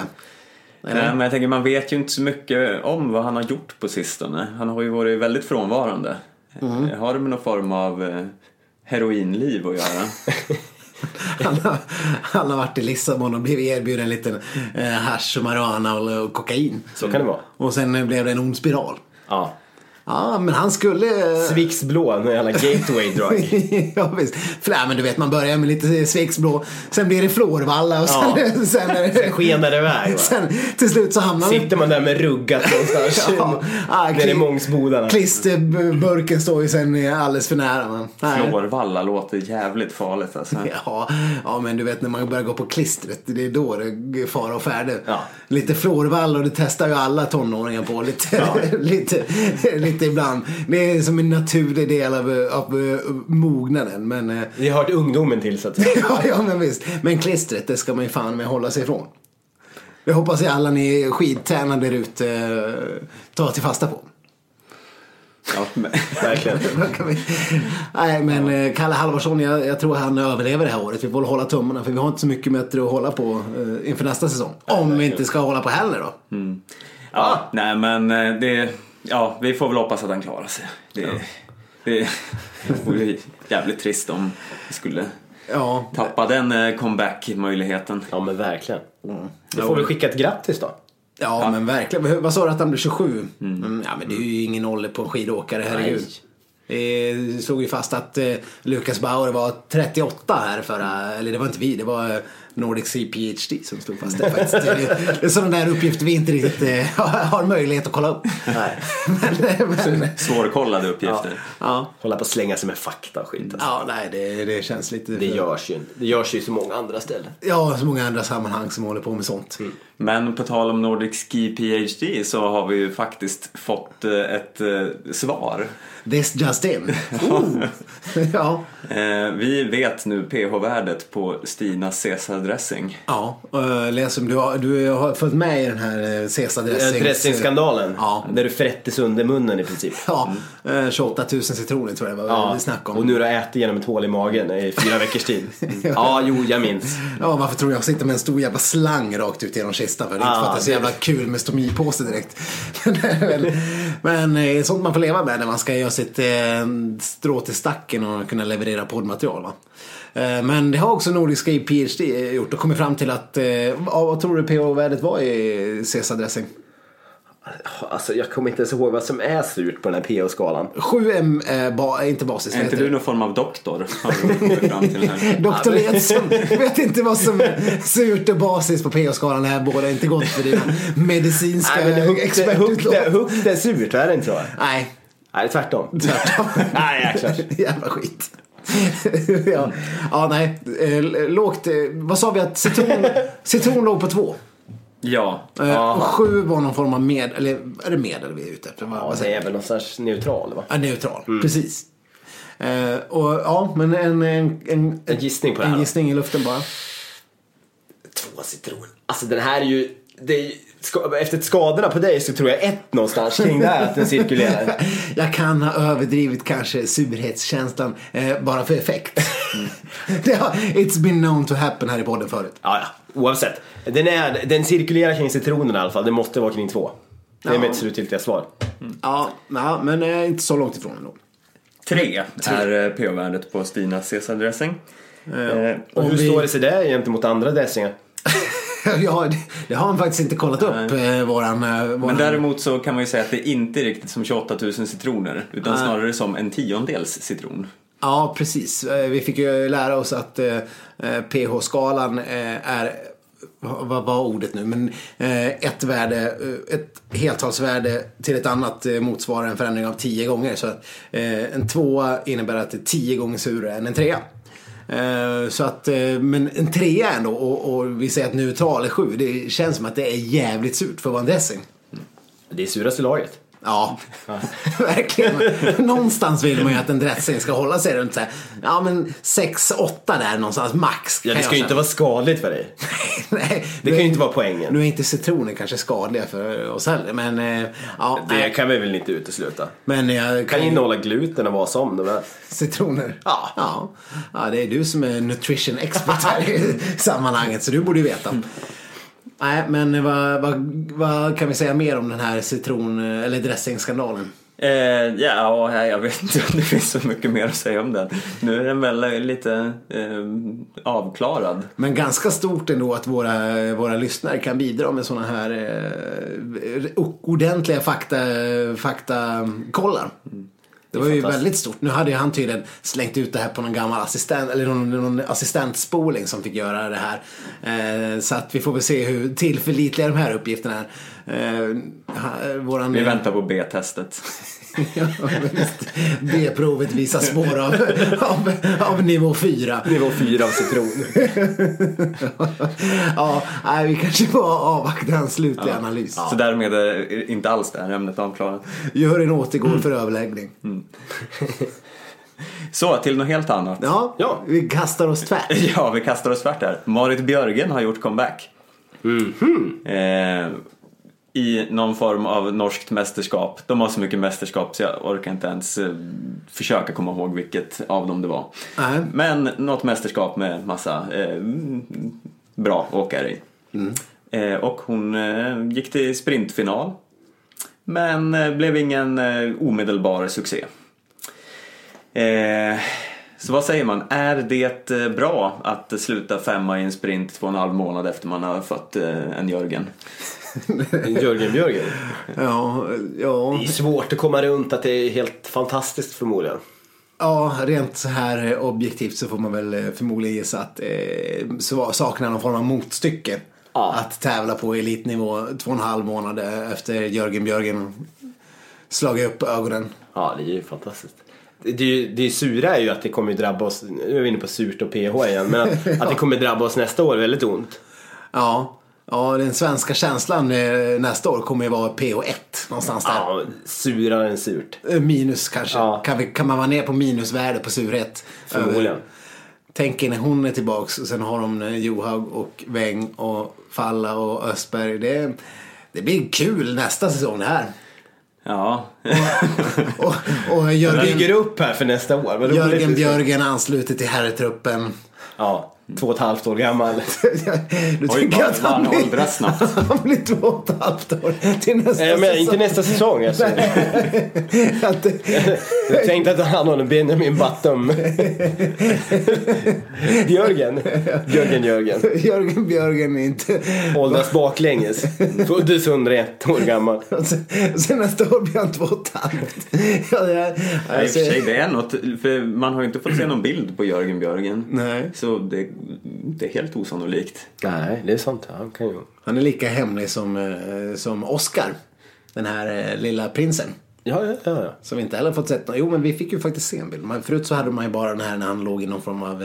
A: Nej, Eh, men jag tänker man vet ju inte så mycket om vad han har gjort på sistone. Han har ju varit väldigt frånvarande.
B: Mm.
A: Eh, Har det med någon form av eh, heroinliv att göra?
B: Han har, han har varit i Lissabon och blivit erbjuden en liten eh, hasch och marijuana och, och kokain.
C: Så kan det vara.
B: Och sen eh, blev det en ond spiral.
C: Ja.
B: Ja, men han skulle... eh,
C: Vicks blå, någon jävla gateway drug.
B: ja visst. För, nej, men du vet man börjar med lite Svexblå, sen blir det Florvalla och sen... sen, är det-
C: Skenar iväg va?
B: sen till slut så hamnar man...
C: Sitter man där med ruggat någonstans.
B: Ja, ah,
C: Nere i
B: kli-
C: Mångsbodarna.
B: Klisterburken står ju sen eh, alldeles för nära. Man. Nej.
A: Florvalla låter jävligt farligt alltså.
B: Ja, ja, men du vet när man börjar gå på klistret, det är då det är fara och färde.
C: Ja.
B: Lite florvall och det testar ju alla tonåringar på lite, lite, lite ibland. Det är som en naturlig del av, eh, av eh, mognaden. Men, eh,
C: Vi har hört ungdomen till så att säga.
B: ja, ja, men visst. Men klistret, det ska man ju fan med hålla sig ifrån. Det hoppas jag alla ni skidtränare där ute eh, tar till fasta på.
A: Ja, men...
C: Verkligen.
B: Vad kan vi- Nej men eh, Kalle Halvarsson, jag, jag tror han överlever det här året. Vi får väl hålla tummarna för vi har inte så mycket meter att hålla på eh, inför nästa säsong. Om vi inte ska hålla på heller då. Ah!
A: Ja, nej men eh, det... Ja, vi får väl hoppas att han klarar sig. Det, det, det vore ju jävligt trist om vi skulle
B: Ja,
A: tappa den eh, comeback-möjligheten.
C: Ja men verkligen. Då Mm. får vi skicka ett grattis då.
B: ja, men verkligen. Hur- Vad sa du att han blev 27? Mm, ja men det är ju ingen ålder på en skidåkare, herregud.
C: Nej.
B: Det slog ju fast att eh, Lucas Bauer var 38 här förra, eller det var inte vi, det var eh, Nordic Sea PhD som stod fast det faktiskt. Det är sådana där uppgifter vi inte riktigt eh, har möjlighet att kolla upp. Nej. men, eh, men,
A: Svårkollade uppgifter.
B: ja.
C: Hålla på att slänga sig med fakta och skit. Alltså.
B: Ja, nej, det, det känns lite...
C: Det görs ju inte. Det görs ju i så många andra ställen.
B: Ja, så många andra sammanhang som håller på med sånt.
A: Men på tal om Nordic Ski PhD så har vi ju faktiskt fått eh, ett eh, svar.
B: This just in. Ooh. ja.
A: Eh, Vi vet nu pH-värdet på Stinas Caesar-dressing.
B: Ja, eh, Lesum, du har, du har följt med i den här eh, Cesa Dressings...
C: Dressingskandalen.
B: Ja.
C: Där du frättes under munnen i princip.
B: Ja, eh, 28 000 citroner tror jag det var vi snackade om.
C: Och nu har du ätit genom ett hål i magen i fyra veckors tid. Ja, jo, jag minns.
B: Ja, varför tror jag jag sitter med en stor jävla slang rakt ut genom kistan? För det är inte
C: Ah,
B: för att det är så
C: det-
B: jävla kul med stomipåse direkt. Men det är väl- Men eh, det är sånt man får leva med när man ska göra sitt eh, strå till stacken och kunna leverera poddmaterial. Va? Eh, Men det har också Nordiska i PhD gjort och kommit fram till att, eh, ja, vad tror du PH-värdet var i Cesar Dressing?
C: Alltså, jag kommer inte ens ihåg vad som är surt på den här PO-skalan.
B: 7M, eh, ba, inte basis,
A: Är
B: vad
A: inte
B: heter
A: du
B: det?
A: någon form av doktor? Har du kommit fram till här?
B: Doktor Edson vet inte vad som är surt och basis på PH-skalan. Det här båda inte gott för dina medicinska expertutlåtanden.
C: Huck det är surt, är det inte så?
B: Nej,
C: Nej, tvärtom. Nej, jäklar.
B: Jävla skit. ja. ja, nej. Eh, Lågt. eh, Vad sa vi att citron, citron låg på två?
A: Ja.
B: Eh, Och
A: ja.
B: sju var någon form av med, eller är det medel vi är ute efter? Vad-
C: Ja, Mm.
B: vad säger
C: det är väl någonstans neutral, va?
B: jag? Ja, neutral, precis. Eh, och ja, men en, en, en,
C: En gissning på det här,
B: En
C: då.
B: gissning i luften bara.
C: Två citroner. Alltså, den här är ju... Det är, ju- ska- efter skadorna på dig så tror jag ett någonstans kring där att den cirkulerar.
B: Jag kan ha överdrivit kanske surhetskänslan eh, bara för effekt.
C: Mm.
B: det har, it's been known to happen här i podden förut.
C: Ja, ja. Oavsett. Den, är, den cirkulerar kring citronerna i alla fall. Det måste vara kring två. Det är
B: Ja.
C: mitt slutgiltiga svar.
B: Ja, ja men eh, inte så långt ifrån ändå.
A: Tre är eh, pH-värdet på Stinas Caesar-dressing. Eh,
C: Och
B: Om
C: hur
B: vi-
C: står det sig där gentemot andra dressingar?
B: Ja, det, det har han faktiskt inte kollat upp, eh, våran... Eh, våran...
A: Men däremot så kan man ju säga att det inte är riktigt som 28 000 citroner utan snarare som en tiondels citron.
B: Ja, precis. Eh, Vi fick ju lära oss att eh, eh, pH-skalan eh, är, vad vad var ordet nu, men eh, ett värde, eh, ett heltalsvärde till ett annat eh, motsvarar en förändring av tio gånger. Så att eh, en tvåa innebär att det är tio gånger surare än en trea. Eh, Så att, eh, men en trea ändå och, och vi säger att neutral är sju. Det känns som att det är jävligt surt för att vara en dressing.
C: Det är suraste laget.
B: Ja, verkligen. Någonstans vill man ju att en dressing ska hålla sig runt så här, ja men 6-8 där någonstans max.
C: Ja,
B: kan
C: det ska ju
B: jag
C: inte vara skadligt för dig.
B: känna. Nej,
C: Det kan ju inte vara poängen.
B: Nu är inte citroner kanske skadliga för oss heller men eh, ja,
C: Det
B: nej.
C: kan vi väl inte utesluta.
B: men jag
C: Kan
B: kan
C: innehålla gluten och vad som. Det
B: Citroner?
C: Ja.
B: ja. Ja, det är du som är nutrition expert här i sammanhanget så du borde ju veta. Nej, men vad, vad, vad kan vi säga mer om den här citron eller dressingskandalen?
A: Eh, ja, ja, jag vet inte om det finns så mycket mer att säga om den. Nu är den väl lite eh, avklarad.
B: Men ganska stort ändå att våra, våra lyssnare kan bidra med sådana här eh, ordentliga fakta, faktakollar. Det var ju
A: fantastiskt.
B: väldigt stort. Nu hade ju han tydligen slängt ut det här på någon gammal assistent eller någon, någon assistentspoling som fick göra det här. Eh, så att vi får väl se hur tillförlitliga de här uppgifterna är. Eh, ha- våran,
A: Vi väntar på B-testet.
B: Ja, visst. B-provet visar spår av, av, av nivå 4.
C: Nivå fyra av citron.
B: ja, nej, vi kanske får avvakta hans slutliga analys.
A: Så därmed är inte alls det här ämnet avklarat.
B: Gör en återgång för
C: Mm.
B: överläggning.
A: Så, till något helt annat.
B: Ja,
C: Ja.
B: vi kastar oss tvärt.
A: Ja, vi kastar oss tvärt där. Marit Björgen har gjort comeback. Eh, I någon form av norskt mästerskap. De har så mycket mästerskap så jag orkar inte ens eh, försöka komma ihåg vilket av dem det var.
B: Nej.
A: Men något mästerskap med massa eh, bra åkare i. Eh, och hon eh, gick till sprintfinal. Men eh, blev ingen eh, omedelbar succé. Eh, så vad säger man? Är det eh, bra att sluta femma i en sprint två och en halv månad efter man har fått eh, en Jörgen?
C: Jörgen Björgen.
B: Ja, ja,
C: Det är svårt att komma runt att det är helt fantastiskt förmodligen.
B: ja, rent så här eh, objektivt så får man väl eh, förmodligen gissa att eh, så- saknar någon form av motstycke.
C: Ja.
B: Att tävla på elitnivå två och en halv månad efter Jörgen Björgen slagit upp ögonen.
C: Ja, det är ju fantastiskt. Det, det, är ju- det sura är ju att det kommer ju drabba oss, nu är vi inne på surt och PH igen, men att, att det kommer drabba oss nästa år väldigt ont.
B: Ja, ja, den svenska känslan eh, nästa år kommer ju vara PO1 någonstans där.
C: Ja, surare än surt.
B: Eh, Minus kanske.
C: Ja.
B: Kan, vi, kan man vara ner på minusvärde på surhet?
C: Förmodligen.
B: Över- Tänk er när hon är tillbaks och sen har de eh, Johaug och Weng och Falla och Östberg. Det, det blir kul nästa säsong det här.
A: Ja, eh,
B: Och, och
C: Bygger
B: Jörgen,
C: upp här för nästa år. Vad roligt
B: Jörgen
C: det ska-
B: Björgen ansluter till herrtruppen.
C: Ja, två och ett halvt år gammal.
B: Du
A: oj
B: tycker
A: vad
B: att
A: vad
B: han
A: han
B: blir,
A: åldras snabbt.
B: han blir två och ett halvt år till nästa
C: Nej, men inte nästa säsong alltså.
B: säsong.
C: Jag tänkte att han har en Benjamin Battum. Jörgen. Jörgen Jörgen.
B: Jörgen Björgen är inte
C: Åldras baklänges. Föddes 101 år gammal.
B: Och Sen, sen nästa år blir han två och ett halvt. Ja, det är,
A: Ja, I och
B: alltså,
A: för sig, det är något. För man har ju inte fått se någon bild på Jörgen Björgen.
B: Nej.
A: Så det, det är helt osannolikt.
C: Nej, det är sant. Han kan ju...
B: han är lika hemlig som, eh, som Oscar. Den här eh, lilla prinsen.
C: Ja, ja, ja. ja.
B: Som vi inte heller fått sett. nå- Jo men vi fick ju faktiskt se en bild. Men förut så hade man ju bara den här när han låg i någon form av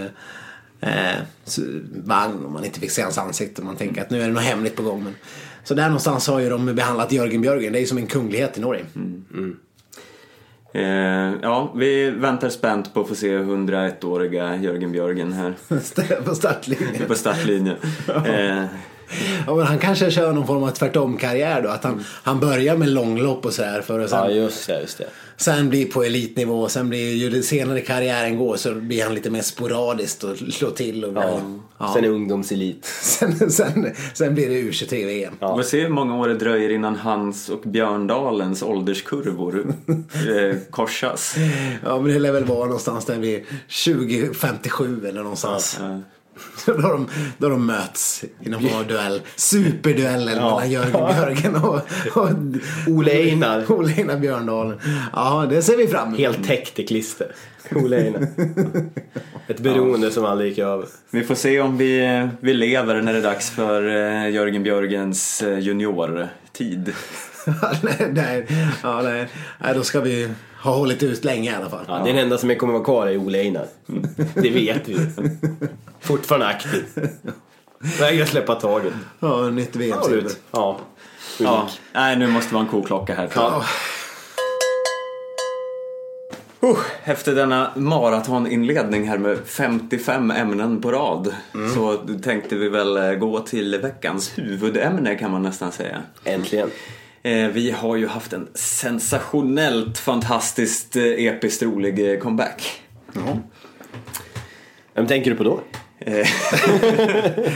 B: eh, eh, su- vagn. Och man inte fick se hans ansikte. Man tänker att nu är det något hemligt på gång. Men, så där någonstans har ju de behandlat Jörgen Björgen. Det är ju som en kunglighet i Norge.
A: Eh, ja, vi väntar spänt på att få se 101-åriga Jörgen Björgen här
B: på startlinjen.
A: på startlinjen. Eh,
B: Ja, men han kanske kör någon form av tvärtom-karriär då. Att han, han börjar med långlopp och sådär. För att sen,
C: Ja, just det. Just det.
B: sen blir på elitnivå. och Sen blir ju det senare karriären går så blir han lite mer sporadiskt och slår till. Och,
C: Ja. Sen är ungdomselit.
B: sen, sen, sen blir det U23-VM.
A: Vi får se hur många år det dröjer innan hans och Björndalens ålderskurvor eh, korsas.
B: Ja men det lär väl vara någonstans där vi 2057 eller någonstans.
A: Eh,
B: Då, de, då de möts i någon form av duell. Superduellen mellan Jörgen Björgen och, och
C: Ole Einar.
B: Ole Einar Björndalen. Ja det ser vi fram emot.
C: Helt täckt i klister. Ole Einar. Ett beroende som aldrig gick över.
A: Vi får se om vi, eh, vi lever när det är dags för eh, Jörgen Björgens eh, juniortid.
B: nej, nej, ja, nej. nej, då ska vi ha hållit ut länge i alla fall.
C: Ja, Den enda som jag kommer vara kvar är Ole Einar. Det vet vi. Fortfarande aktiv. Vägrar släppa taget.
B: Ja, nytt VM-silver.
C: Ja.
A: Ja. Nej, nu måste vi ha en koklocka här.
C: Ja.
A: Oh, efter denna maratoninledning här med 55 ämnen på rad så tänkte vi väl eh, gå till veckans huvudämne kan man nästan säga.
C: Äntligen.
A: Eh, Vi har ju haft en sensationellt fantastiskt eh, episkt rolig eh, comeback.
C: Vem tänker du på då?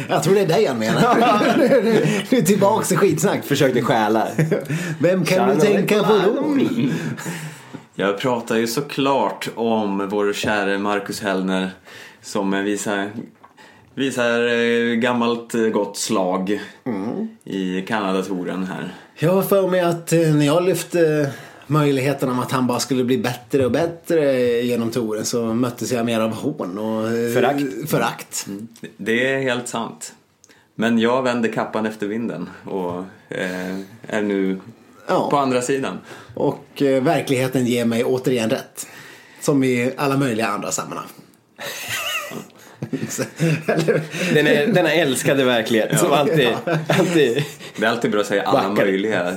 B: Jag tror det är dig han menar. du är tillbaka i skitsnack.
C: Försökte stjäla.
B: Vem kan du tänka på då?
A: Jag pratar ju såklart om vår käre Marcus Hellner som visar, visar eh, gammalt eh, gott slag i Kanadatoren här.
B: Jag har för mig att eh, när jag lyfte möjligheten om att han bara skulle bli bättre och bättre genom touren så möttes jag mer av hån och eh,
C: Förakt.
B: förakt.
A: Det är helt sant. Men jag vänder kappan efter vinden och eh, är nu
B: Ja.
A: på andra sidan.
B: Och eh, verkligheten ger mig återigen rätt. Som i alla möjliga andra sammanhang. Så- eller-
C: Den, är, den är älskade verklighet som alltid, alltid.
A: Det är alltid bra att säga alla
C: Backar.
A: möjliga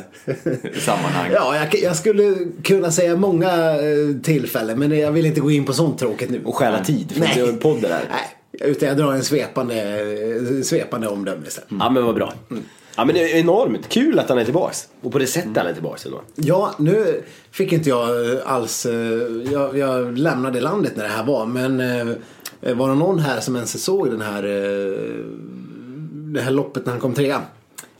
A: sammanhang.
B: Ja, jag, jag skulle kunna säga många eh, tillfällen men jag vill inte gå in på sånt tråkigt nu.
C: Och stjäla tid för att göra en podd där.
B: Nej, utan jag drar en svepande, eh, svepande omdöme istället.
C: Mm. Ja men vad bra.
B: Mm.
C: Ja men det är enormt kul att han är tillbaks. Och på det sättet han är tillbaks ändå.
B: Ja, nu fick inte jag eh, alls... eh, Jag, jag lämnade landet när det här var men eh, var det någon här som ens såg den här, eh, det här loppet när han kom trea?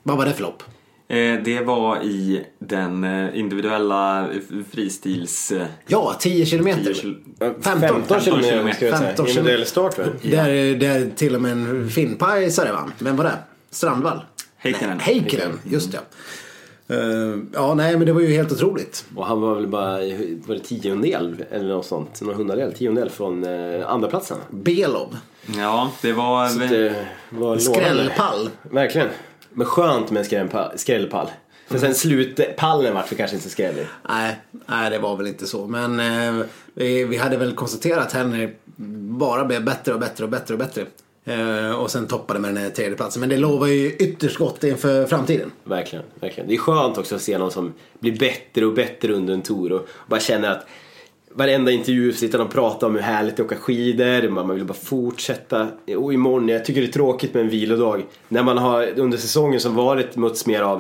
B: Vad var det för lopp?
A: Eh, det var i den eh, individuella f- fristils... eh,
B: Ja, 10 kilometer.
A: 10
B: 15.
C: 15 eh, kilometer
A: kilometer.
C: ska jag säga.
B: 15 kilometer.
C: Individuell start väl?
B: Där, där till och med en finnpajsare vann. Vem var det? Strandvall?
A: Heikkinen.
B: Heikkinen, just det. Eh, ja, nej men det var ju helt otroligt.
C: Och han var väl bara i- var det tiondel eller något sånt. Någon hundradel, tiondel från eh, andraplatsen.
B: Belov.
A: Ja, det var...
C: Det var lovande.
B: Skrällpall.
C: Verkligen. Men skönt med en skrällpall. skrällpall. För
B: Mm.
C: sen slutpallen vart för kanske inte så skrällig.
B: Nej, nej, det var väl inte så. Men eh, vi, vi hade väl konstaterat att Henry bara blev bättre och bättre och bättre och bättre. Eh, och sen toppade med den här tredjeplatsen. Men det lovar ju ytterst gott inför framtiden.
C: Verkligen, verkligen. Det är skönt också att se någon som blir bättre och bättre under en tour och bara känner att varenda intervju sitter de och pratar om hur härligt det är att åka skidor, man man vill bara fortsätta. Och imorgon, jag tycker det är tråkigt med en vilodag. När man har under säsongen som varit mötts mer av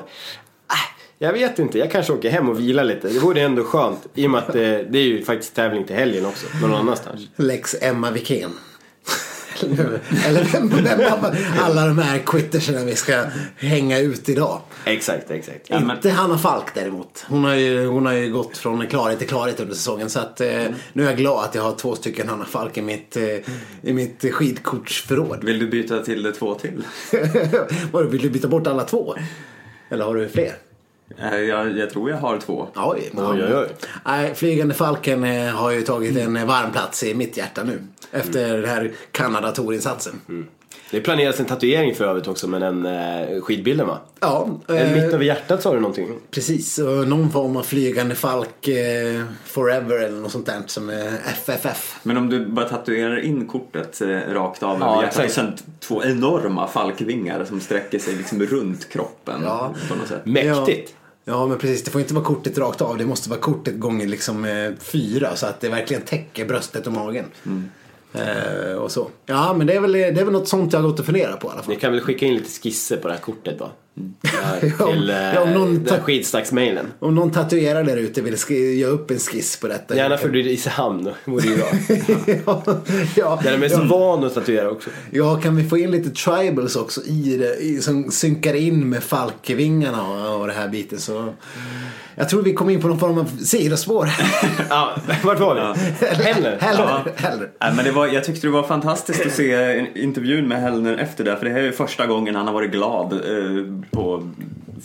C: "Ah, jag vet inte, jag kanske åker hem och vilar lite. Det vore ändå skönt. I och med att det, det är ju faktiskt tävling till helgen också, någon annanstans.
B: Lex Emma Wikén. Eller vem, vem av alla de här quitterserna vi ska hänga ut idag.
C: Exakt, exakt.
B: Inte Hanna Falk däremot. Hon har ju, hon har ju gått från klarhet till klarhet under säsongen. Så att, eh, nu är jag glad att jag har två stycken Hanna Falk i mitt, eh, i mitt skidkortsförråd.
A: Vill du byta till det två till?
B: Vadå, vill du byta bort alla två? Eller har du fler?
A: Eh, Jag, jag tror jag har två.
B: Oj,
C: Oj, oj, oj.
B: Nej, Flygande Falken eh, har ju tagit en eh, varm plats i mitt hjärta nu. Efter den här Kanada-tourinsatsen.
C: Det planeras en tatuering för övrigt också med den eh, skidbilden va?
B: Ja,
C: Eller
B: eh,
C: mitt över hjärtat sa du någonting?
B: Precis, och någon form av flygande falk eh, forever eller något sånt där som eh, FFF.
A: Men om du bara tatuerar in kortet eh, rakt av över hjärtat och
C: exakt.
A: sen t- två enorma falkvingar som sträcker sig liksom runt kroppen
B: Ja.
A: på något sätt.
C: Mäktigt!
B: Ja, ja, men precis. Det får inte vara kortet rakt av. Det måste vara kortet gånger liksom, eh, fyra så att det verkligen täcker bröstet och magen.
C: Mm.
B: Eh, och så. Ja, men det är, väl, det är väl något sånt jag har gått och funderat på i alla fall.
C: Ni kan väl skicka in lite skisser på det här kortet då?
B: Ja, om-
C: Till eh,
B: ja, om någon
C: den här
B: tar-
C: skidstacksmailen.
B: Om någon tatuerare där ute vill sk- göra upp en skiss på detta.
C: Gärna för du är i Isehamn, då, vore ju bra.
B: ja, ja,
C: Jag är mest
B: ja.
C: van att tatuera också.
B: Ja, kan vi få in lite tribals också i det, i, som synkar in med falkevingarna och, och det här biten så. Jag tror vi kom in på någon form av sidospår.
C: Ja, vart var vi? Heller?
B: Hellre,
A: Ja.
B: hellre.
A: Nej, Eh, men det var, jag tyckte det var fantastiskt att se en- intervjun med Hellner efter det för det här är ju första gången han har varit glad eh, på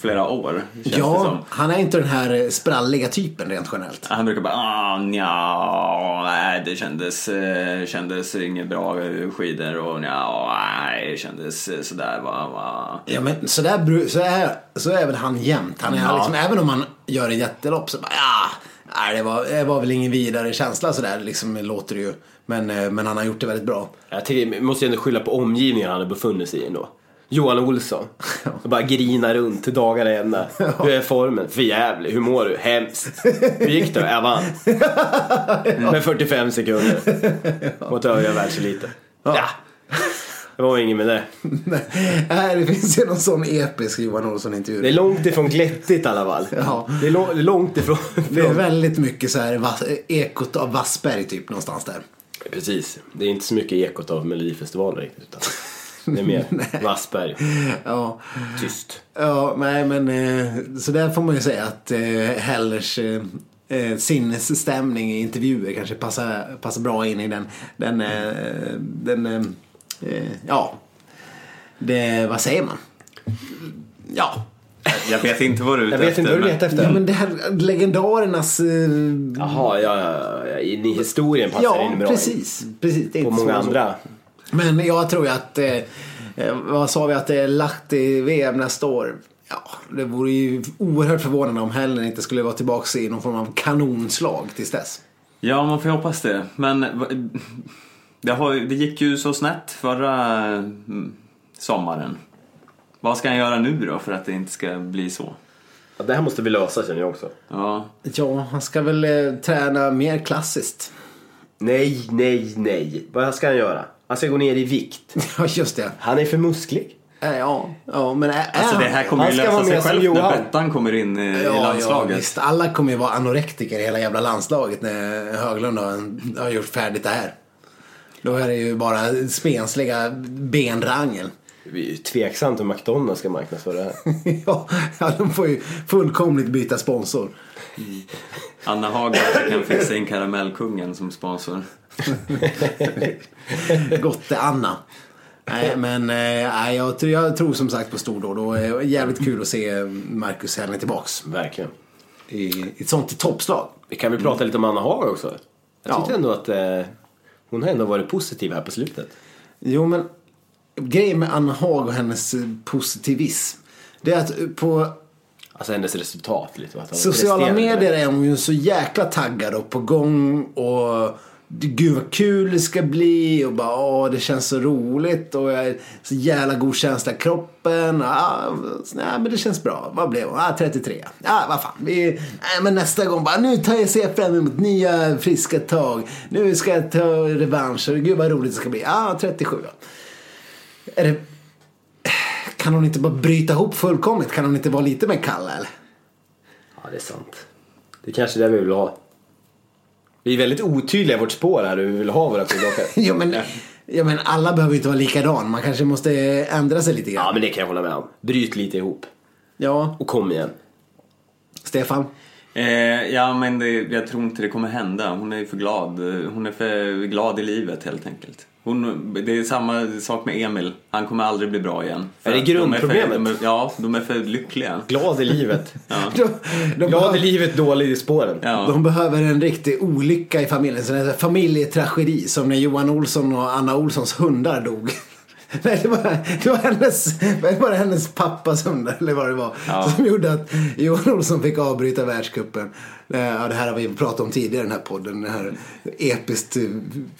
A: flera år. Känns det som.
B: Ja, han är inte den här eh, spralliga typen rent generellt.
A: Han brukar bara ah, nja, nej det kändes, eh, kändes inget bra eh, skidor och nja, nej det kändes eh, sådär va, va.
B: Ja, men så, där, bru- så, är, så är väl han jämt. Han är liksom, även om han gör ett jättelopp så bara ja, nej, det, var, det var väl ingen vidare känsla sådär liksom låter det ju. Men, eh, men han har gjort det väldigt bra.
C: Jag tycker, måste ju ändå skylla på omgivningen han hade befunnit sig i ändå. Johan Olsson. Och bara grina runt till dagarna ända. Hur är formen? För jävlig. Hur mår du? Hemskt. Hur gick det? Jag vann. Med 45 sekunder. Mot övriga världseliten. Ja. Det var inget med det.
B: Nej, det finns ju någon sån episk Johan Olsson-intervju.
C: Det är långt ifrån glättigt i alla fall.
B: Ja.
C: Det är lång- det är långt ifrån.
B: Det är väldigt mycket så här va- ekot av Wassberg typ någonstans där.
C: Precis. Det är inte så mycket ekot av Melodifestivalen riktigt. Utan det är mer Wassberg.
B: Ja,
C: Tyst.
B: ja nej men eh, så där får man ju säga att eh, Hellers eh, eh, sinnesstämning i intervjuer kanske passar, passar bra in i den, den, eh, den eh, eh, ja, det, vad säger man? Ja,
A: Jag vet inte vad du är
C: Jag
A: ute
C: vet inte vad du
A: men-
C: letar efter.
B: ja men det här legendarernas eh,
C: Jaha, ja, ja, ja. In i historien passar
B: Ja,
C: in bra.
B: precis. precis. Det är
C: På
B: inte
C: många
B: svårt.
C: andra.
B: Men jag tror ju att, eh, eh, vad sa vi att det är Lahti-VM nästa år? Ja, det vore ju oerhört förvånande om Hellen inte skulle vara tillbaka i någon form av kanonslag tills dess.
A: Ja, man får ju hoppas det. Men va- det, har, ju- det gick ju så snett förra mm, sommaren. Vad ska han göra nu då för att det inte ska bli så?
C: Ja, det här måste vi lösa känner jag också.
A: Ja,
B: Ja, han ska väl eh, träna mer klassiskt.
C: Nej, nej, nej. Vad ska han göra? Han ska gå ner i vikt.
B: Ja, just det.
C: Han är för musklig.
B: Eh, Ja, ja men är, är
A: alltså det
B: han-
A: här kommer
C: han
A: ju
C: ska
A: lösa
C: vara
A: sig
C: med som
A: själv när
C: Johan.
A: Bettan kommer in eh, i, i
B: Ja, ja,
A: landslaget.
B: visst. Alla kommer ju vara anorektiker i hela jävla landslaget när Höglund har, har gjort färdigt det här. Då är det ju bara spensliga benrangel.
C: Det är ju tveksamt hur McDonalds ska marknadsföra det här.
B: ja, ja, de får ju fullkomligt byta sponsor.
A: Anna Hager kan fixa in Karamellkungen som sponsor.
B: Gotte-Anna. Nej, men eh, nej, jag, tror- jag tror som sagt på stordåd och eh, jävligt kul att se Marcus Hellner tillbaks
C: Verkligen.
B: i, i ett sånt toppslag.
C: Vi kan väl prata lite om Anna Haag också? Jag
B: Ja.
C: tyckte ändå att eh, hon har ändå varit positiv här på slutet.
B: Jo, men grejen med Anna Haag och hennes eh, positivism, det är att eh, på
C: Alltså hennes resultat lite. Att hon
B: Sociala
C: presterade.
B: medier är hon ju så jäkla taggad och på gång och gud vad kul det ska bli och bara åh det känns så roligt och jag är så jävla god känsla i kroppen. Ah, nej men det känns bra. Vad blev hon? Ah, 33. Ah, vad fan. Vi, nej, men nästa gång bara nu tar jag ser jag fram emot nya friska tag. Nu ska jag ta revansch och gud vad roligt det ska bli. Ah, 37. Är det... Kan hon inte bara bryta ihop fullkomligt? Kan hon inte vara lite mer kall eller?
C: Ja, det är sant. Det är kanske det vi vill ha. Vi är väldigt otydliga i vårt spår här hur vi vill ha våra skidåkare.
B: Ja men, ja, men alla behöver ju inte vara likadan. Man kanske måste ändra sig lite
C: ja,
B: grann.
C: men det kan jag hålla med om. Bryt lite ihop.
B: Ja,
C: Och kom igen.
B: Stefan.
A: Eh, ja, men det, jag tror inte det kommer hända. Hon är ju för glad. Eh, Hon är för glad i livet helt enkelt. Hon, det är samma sak med Emil. Han kommer aldrig bli bra igen. För
C: Är det
A: att de
C: grundproblemet?
A: för- de är- ja, de är för lyckliga.
C: Glad i livet.
B: De, de,
C: Glad i
B: behöver,
C: livet, dålig i spåren.
A: Ja.
B: de behöver en riktig olycka i familjen. Så en familjetragedi som när Johan Olsson och Anna Olssons hundar dog. Nej, det var, det, var hennes, det var hennes pappas hundar eller vad det var.
A: Ja.
B: Som gjorde att Johan Olsson fick avbryta världscupen. Eh, Ja, det här har vi pratat om tidigare i den här podden. Det här episkt eh,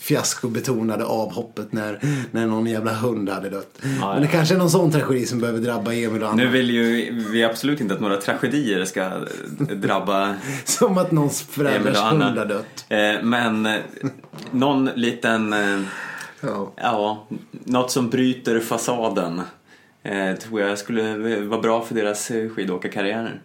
B: fiaskobetonade avhoppet när, när någon jävla hund hade dött. Men det kanske är någon sån tragedi som behöver drabba Emil och Anna.
A: Nu vill ju vi absolut inte att några tragedier ska eh, drabba
B: Som att någons
A: Emil
B: föräldrars
A: och
B: hund
A: Anna.
B: har dött.
A: Eh, Men eh, någon liten, eh,
B: Ja.
A: ja, något som bryter fasaden eh, tror jag skulle vara bra för deras eh, skidåkarkarriärer.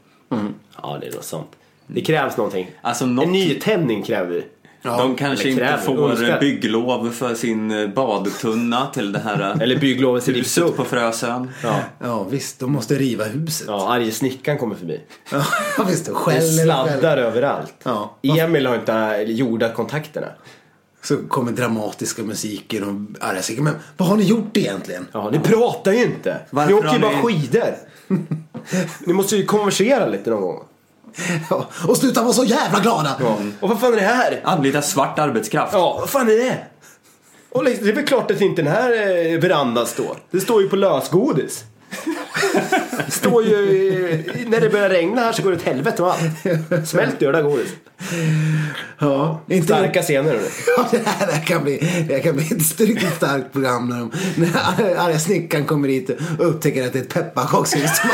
C: Ja, det är nog sant. Det krävs någonting.
A: Alltså
C: En
A: något,
C: nytändning kräver vi.
A: de kanske
C: eller
A: inte
C: kräver,
A: får
C: önskar.
A: bygglov för sin eh, badtunna till det här eh,
C: Eller bygglovet till
A: huset
C: Ripsup.
A: på Frösön.
C: Ja.
B: Ja visst, de måste riva huset. Ja,
C: ja, arge snickaren kommer förbi.
B: visst, de
C: Det
B: skäller och skäller.
C: sladdar överallt.
B: Ja.
C: Emil har inte jordat kontakterna.
B: Så kommer dramatiska musiken och arga musiken. Men vad har ni gjort egentligen?
C: Ja, ni pratar ju inte.
A: Varför
C: ni åker
A: har
C: ju bara
A: ni-
C: skidor. ni måste ju konversera lite någon gång.
B: Ja. Och sluta vara så jävla glada!
A: Mm.
C: Och vad fan är det här?
A: Anlita svart arbetskraft.
C: Ja, vad fan är det? Och liksom, det är väl klart att inte den här eh, verandan står. Det står ju på lösgodis. Står ju i, när det börjar regna här så går det åt helvete med allt. Smält döda godis.
B: Ja, inte
C: Starka scener. hörru.
B: Ja, det här det här kan bli, det här kan bli ett riktigt starkt program när, de, när arga snickaren kommer hit och upptäcker att det är ett pepparkakshus.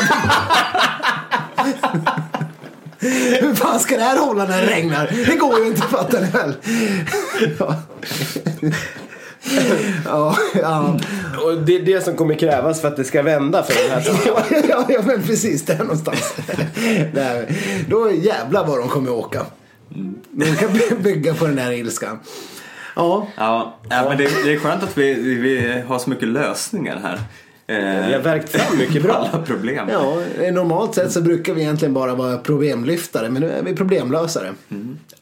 B: Hur fan ska det här hålla när det regnar? Det går ju inte fattar ni väl? Ja. Ja, ja.
C: Och det är det som kommer krävas för att det ska vända för den här tiden.
B: Ja, ja, ja, men precis där någonstans. Där. Då jävlar vad de kommer åka. De kan by- bygga på den här ilskan. Ja,
A: Ja, ja, men det, det är skönt att vi, vi, vi har så mycket lösningar här. Eh,
C: Vi har verkt fram mycket
A: på
C: bra.
A: alla problem.
B: Ja, normalt sett så brukar vi egentligen bara vara problemlyftare, men nu är vi problemlösare.
C: Ja,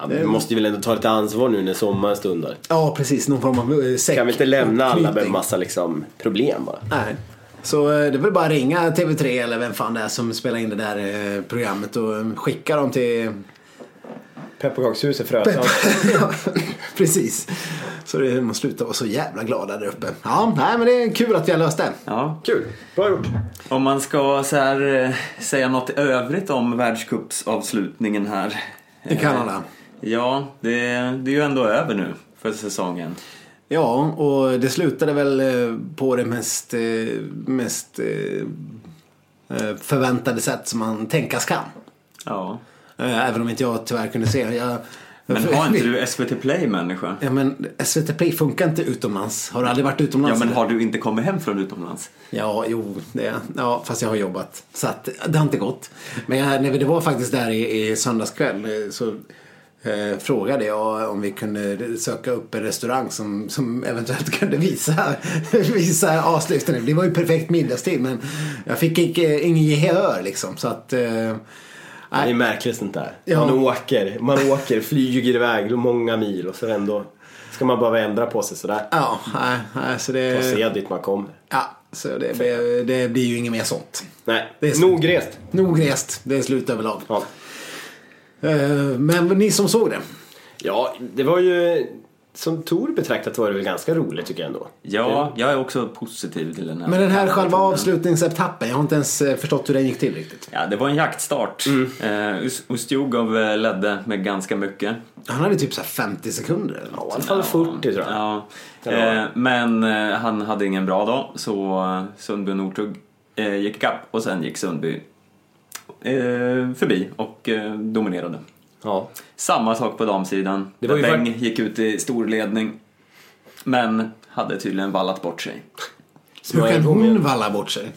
C: men vi måste ju väl ändå ta lite ansvar nu när sommaren stundar.
B: Ja, precis. Någon form av eh, säck.
C: Kan vi inte lämna alla med en
B: Knytning.
C: massa liksom, problem bara?
B: Nej. Så eh, det är väl bara att ringa TV3 eller vem fan det är som spelar in det där eh, programmet och eh, skicka dem till...
C: Pepparkakshuset Frösön.
B: ja, precis. Så det man slutar vara så jävla glada där uppe. Ja, nej, men det är kul att vi har löst det.
A: Ja.
C: Kul, bra gjort.
A: Om man ska så här, eh, säga något i övrigt om världscupsavslutningen här. Eh,
B: I Kanada.
A: Ja, det, det är ju ändå över nu för säsongen.
B: Ja, och det slutade väl eh, på det mest, eh, mest eh, eh, förväntade sätt som man tänkas kan.
A: Ja.
B: Eh, Även om inte jag tyvärr kunde se. Jag,
A: Men har inte du SVT Play människa?
B: Ja, men SVT Play funkar inte utomlands. Har du aldrig varit
A: Ja,
B: utomlands?
A: men har du inte kommit hem från utomlands?
B: Ja, jo, det. Ja, fast jag har jobbat. Så att, det har inte gått. Men jag, när vi det var faktiskt där i, i söndagskväll eh, så eh, frågade jag om vi kunde söka upp en restaurang som, som eventuellt kunde visa, visa avslutningen. Det var ju perfekt middagstid men jag fick inte- eh, ingen gehör liksom. Så att, eh,
C: Det är märkligt sånt där.
B: Ja.
C: Man åker, man åker, flyger iväg många mil och så ändå ska man behöva ändra på sig sådär.
B: ja, nej, nej, så
C: Och
B: det,
C: se dit man kommer.
B: ja, så det, blev- det blir ju inget mer sånt.
C: Nej,
B: Det är så.
C: nog rest.
B: Nog rest, det är slut överlag.
C: Ja.
B: Eh, Men ni som såg det.
C: ja, det var ju som Tor betraktat var det väl ganska roligt tycker jag ändå.
A: Ja, jag är också positiv till den här.
B: Men den här själva
A: metoden.
B: avslutningsetappen, jag har inte ens eh, förstått hur den gick till riktigt.
A: Ja, det var en jaktstart. Mm. Ustjugov eh, ledde med ganska mycket.
B: Han hade typ så här 50 sekunder eller något.
C: I alla fall 40 tror jag.
A: Ja.
C: Eller
A: Eh, men eh, han hade ingen bra dag så eh, Sundby och Northug eh, gick ikapp och sen gick Sundby eh, förbi och eh, dominerade.
C: Ja.
A: Samma sak på damsidan.
C: Det var ju
A: Beng
C: fakt-
A: gick ut i storledning men hade tydligen vallat bort sig.
B: Hur kan
C: jag på
B: hon valla bort sig?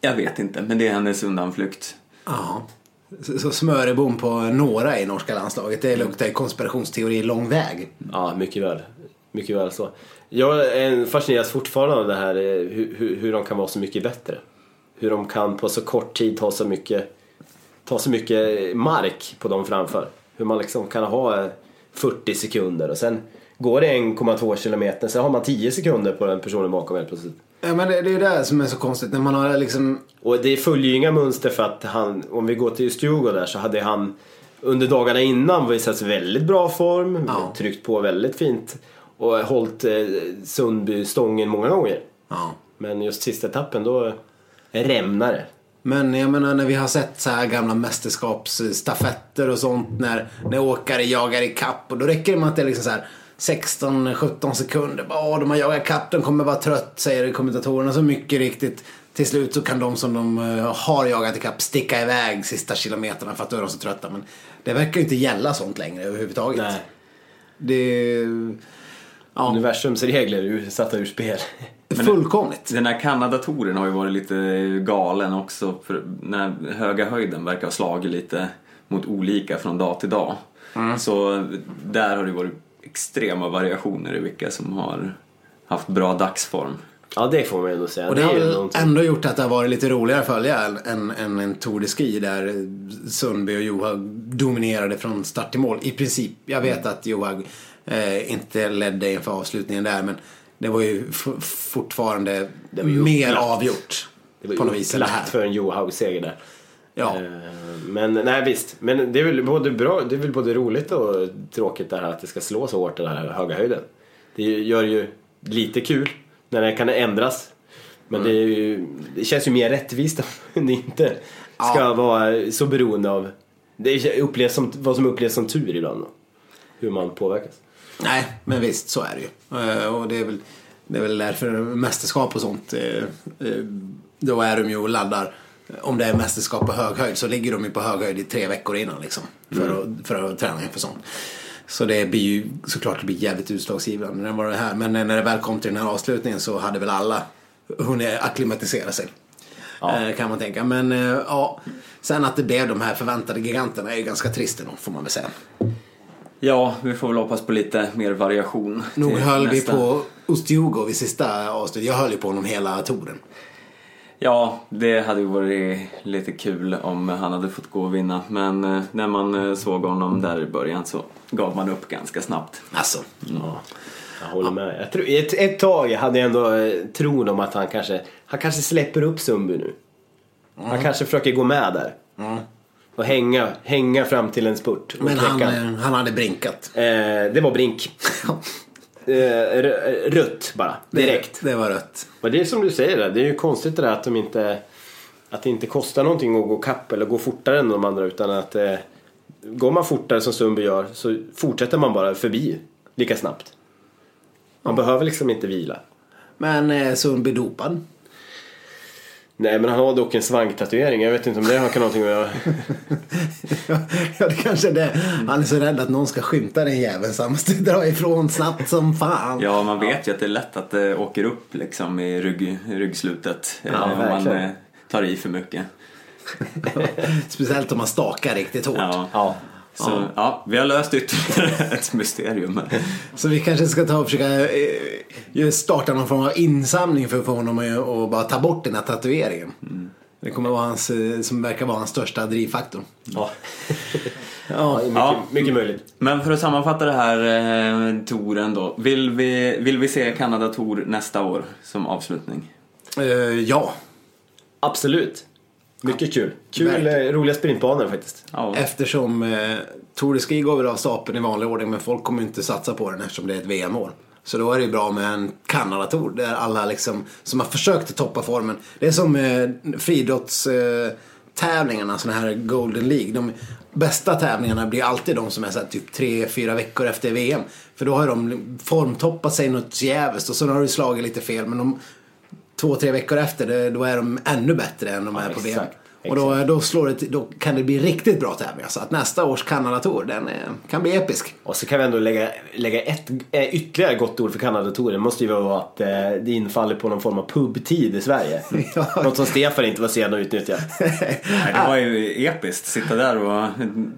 A: Jag vet inte, men det är hennes undanflykt.
B: Ja. Så- Så smörebom på några i norska landslaget, det luktar ju konspirationsteori lång väg.
C: Ja, mycket väl. Mycket väl så. Jag eh, fascineras fortfarande av det här eh, hur, hur, hur de kan vara så mycket bättre. Hur de kan på så kort tid ta så mycket, ta så mycket mark på dem framför. Hur man liksom kan ha eh, 40 sekunder och sen går det 1,2 kilometer sen har man 10 sekunder på den personen bakom helt plötsligt.
B: Ja, men det, det är ju det som är så konstigt, när man har liksom...
C: Och det följer ju inga mönster för att han, om vi går till Stjugo där så hade han under dagarna innan visat väldigt bra form,
B: Ja.
C: tryckt på väldigt fint och hållit eh, Sundby stången många gånger.
B: Ja.
C: Men just sista etappen då rämnar det.
B: Men jag menar när vi har sett så här gamla mästerskapsstafetter och sånt när, när åkare jagar i kapp och då räcker det med att det är liksom så här 16-17 sekunder. Bara, Åh, de har jagat kapp, de kommer vara trött säger kommentatorerna så mycket riktigt. Till slut så kan de som de eh, har jagat i kapp sticka iväg sista kilometerna för att då är de så trötta. Men det verkar ju inte gälla sånt längre överhuvudtaget.
C: Nej.
B: Det är Ja.
C: Universums regler är ju satta ur spel.
B: fullkomligt.
A: Den här Kanadatoren har ju varit lite galen också. För när höga höjden verkar ha slagit lite mot olika från dag till dag.
B: Mm.
A: Så där har det varit extrema variationer i vilka som har haft bra dagsform.
C: Ja det får man ju ändå säga.
B: Och det har
C: är ju
B: väl
C: någonting.
B: ändå gjort att det har varit lite roligare att följa än- än än en Tour de Ski där Sundby och Johaug dominerade från start till mål. I princip. Jag vet att Johaug eh, inte ledde inför avslutningen där men det var ju f- fortfarande
C: var ju
B: mer
C: upplagt.
B: avgjort.
C: det var ju
B: på något vis än det här.
C: upplagt för en Johaug-seger där.
B: Ja.
C: Eh, Men nej visst, men det är, väl både bra, det är väl både roligt och tråkigt det här att det ska slå så hårt den här höga höjden. Det gör ju lite kul när det kan ändras. Men det, är ju, det känns ju mer rättvist om det inte ska vara så beroende av det upplevs som, vad som upplevs som tur ibland. då. Hur man påverkas.
B: Nej, men visst så är det ju. Eh, Och det är väl, det är väl därför mästerskap och sånt, eh, eh, då är de ju och laddar. Om det är mästerskap på hög höjd så ligger de ju på hög höjd i tre veckor innan liksom. För, att, för att träna inför sånt. Så det blir ju såklart det blir jävligt utslagsgivande. Det var det här. Men eh, när det väl kom till den här avslutningen så hade väl alla hunnit acklimatisera sig. Eh, Kan man tänka. Men eh, ja, sen att det blev de här förväntade giganterna är ju ganska trist ändå får man väl säga.
A: Ja, vi får väl hoppas på lite mer variation.
B: Nog
A: till
B: höll
A: nästa.
B: vi på Ostjugov i sista avsnittet. Jag höll ju på honom hela touren.
A: Ja, det hade ju varit lite kul om han hade fått gå och vinna. Men eh, när man eh, såg honom där i början så gav man upp ganska snabbt.
B: Alltså.
C: Jag håller med. Jag tror, ett, ett tag hade jag ändå eh, tron om att han kanske, han kanske släpper upp Sundby nu.
B: Mm.
C: Han kanske försöker gå med där. Och hänga, hänga fram till en spurt. och
B: Men han,
C: knäcka.
B: eh, han hade brinkat.
C: Eh, det var Brink. eh, rö- rött bara, direkt.
B: Det, det var rött.
C: Men det är som du säger, där, det är ju konstigt det där att de inte att det inte kostar någonting att gå kapp eller gå fortare än de andra utan att eh, går man fortare som Sundby gör så fortsätter man bara förbi lika snabbt. Man behöver liksom inte vila.
B: Men eh, Sundby dopad.
C: Nej men han har dock en svanktatuering, jag vet inte om det har kan någonting att göra.
B: ja, det kanske är det. Han är så rädd att någon ska skymta den jäveln så han måste dra ifrån snabbt som fan.
A: Ja, man vet ju att det är lätt att det åker upp liksom i rygg, ryggslutet. eh, om man
C: verkligen.
A: eh, tar i för mycket.
B: Speciellt om man stakar riktigt hårt.
A: Ja.
C: Ja.
A: Så, ja. vi har löst ytterligare ett mysterium. här.
B: Så vi kanske ska ta och försöka eh, ju starta någon form av insamling för att få honom att att bara ta bort den här tatueringen.
A: Mm.
B: Det kommer vara hans, eh, som verkar vara hans största drivfaktor.
C: ja.
B: Ja,
C: Mycket,
A: Ja.
C: mycket möjligt.
A: Men för att sammanfatta det här eh, touren då. Vill vi, vill vi se Kanada-tour nästa år som avslutning?
B: eh, ja.
C: Absolut. Mycket kul. Kul,
B: Verkligen.
C: eh, roliga sprintbanor faktiskt.
A: Ja.
B: eftersom eh, Tour de Ski går väl av stapeln i vanlig ordning men folk kommer ju inte satsa på den eftersom det är ett VM-år. Så då är det ju bra med en Kanada-tour där alla liksom, som har försökt att toppa formen. Det är som eh, friidrottstävlingarna, eh, tävlingarna, såna här Golden League. De bästa tävlingarna blir alltid de som är så här, typ tre fyra veckor efter VM. För då har de formtoppat sig något jävligt och så har de slagit lite fel men de två, tre veckor efter, det- då är de ännu bättre än de är på
C: exakt,
B: VM. Och då, då, slår det, då kan det bli riktigt bra tävlingar. Så att nästa års Kanada-tour, den eh, kan bli episk.
C: Och så kan vi ändå lägga, lägga ett eh, ytterligare gott ord för Kanada-touren. måste ju vara att eh, det infaller på någon form av pubtid i Sverige.
B: Ja.
C: Något som Stefan inte var sen att utnyttja.
A: Nej, det var ju episkt. Sitta där och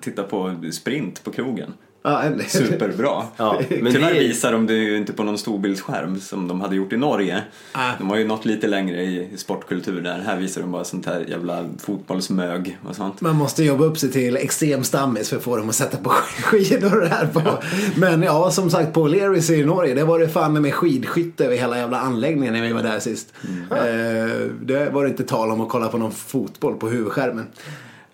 A: titta på sprint på krogen.
B: Ja, det-
A: Superbra.
C: Ja, men
A: Tyvärr
C: det-
A: visar de det ju inte på någon storbildsskärm som de hade gjort i Norge.
B: Ah.
A: De har ju nått lite längre i sportkultur där. Här visar de bara sånt här jävla fotbollsmög och sånt.
B: Man måste jobba upp sig till extrem stammis för att få dem att sätta på skidor och det här på. Men ja, som sagt på Lerys i Norge, det var det fan med skidskytte över hela jävla anläggningen när vi var där sist. Eh, det var det inte tal om att kolla på någon fotboll på huvudskärmen.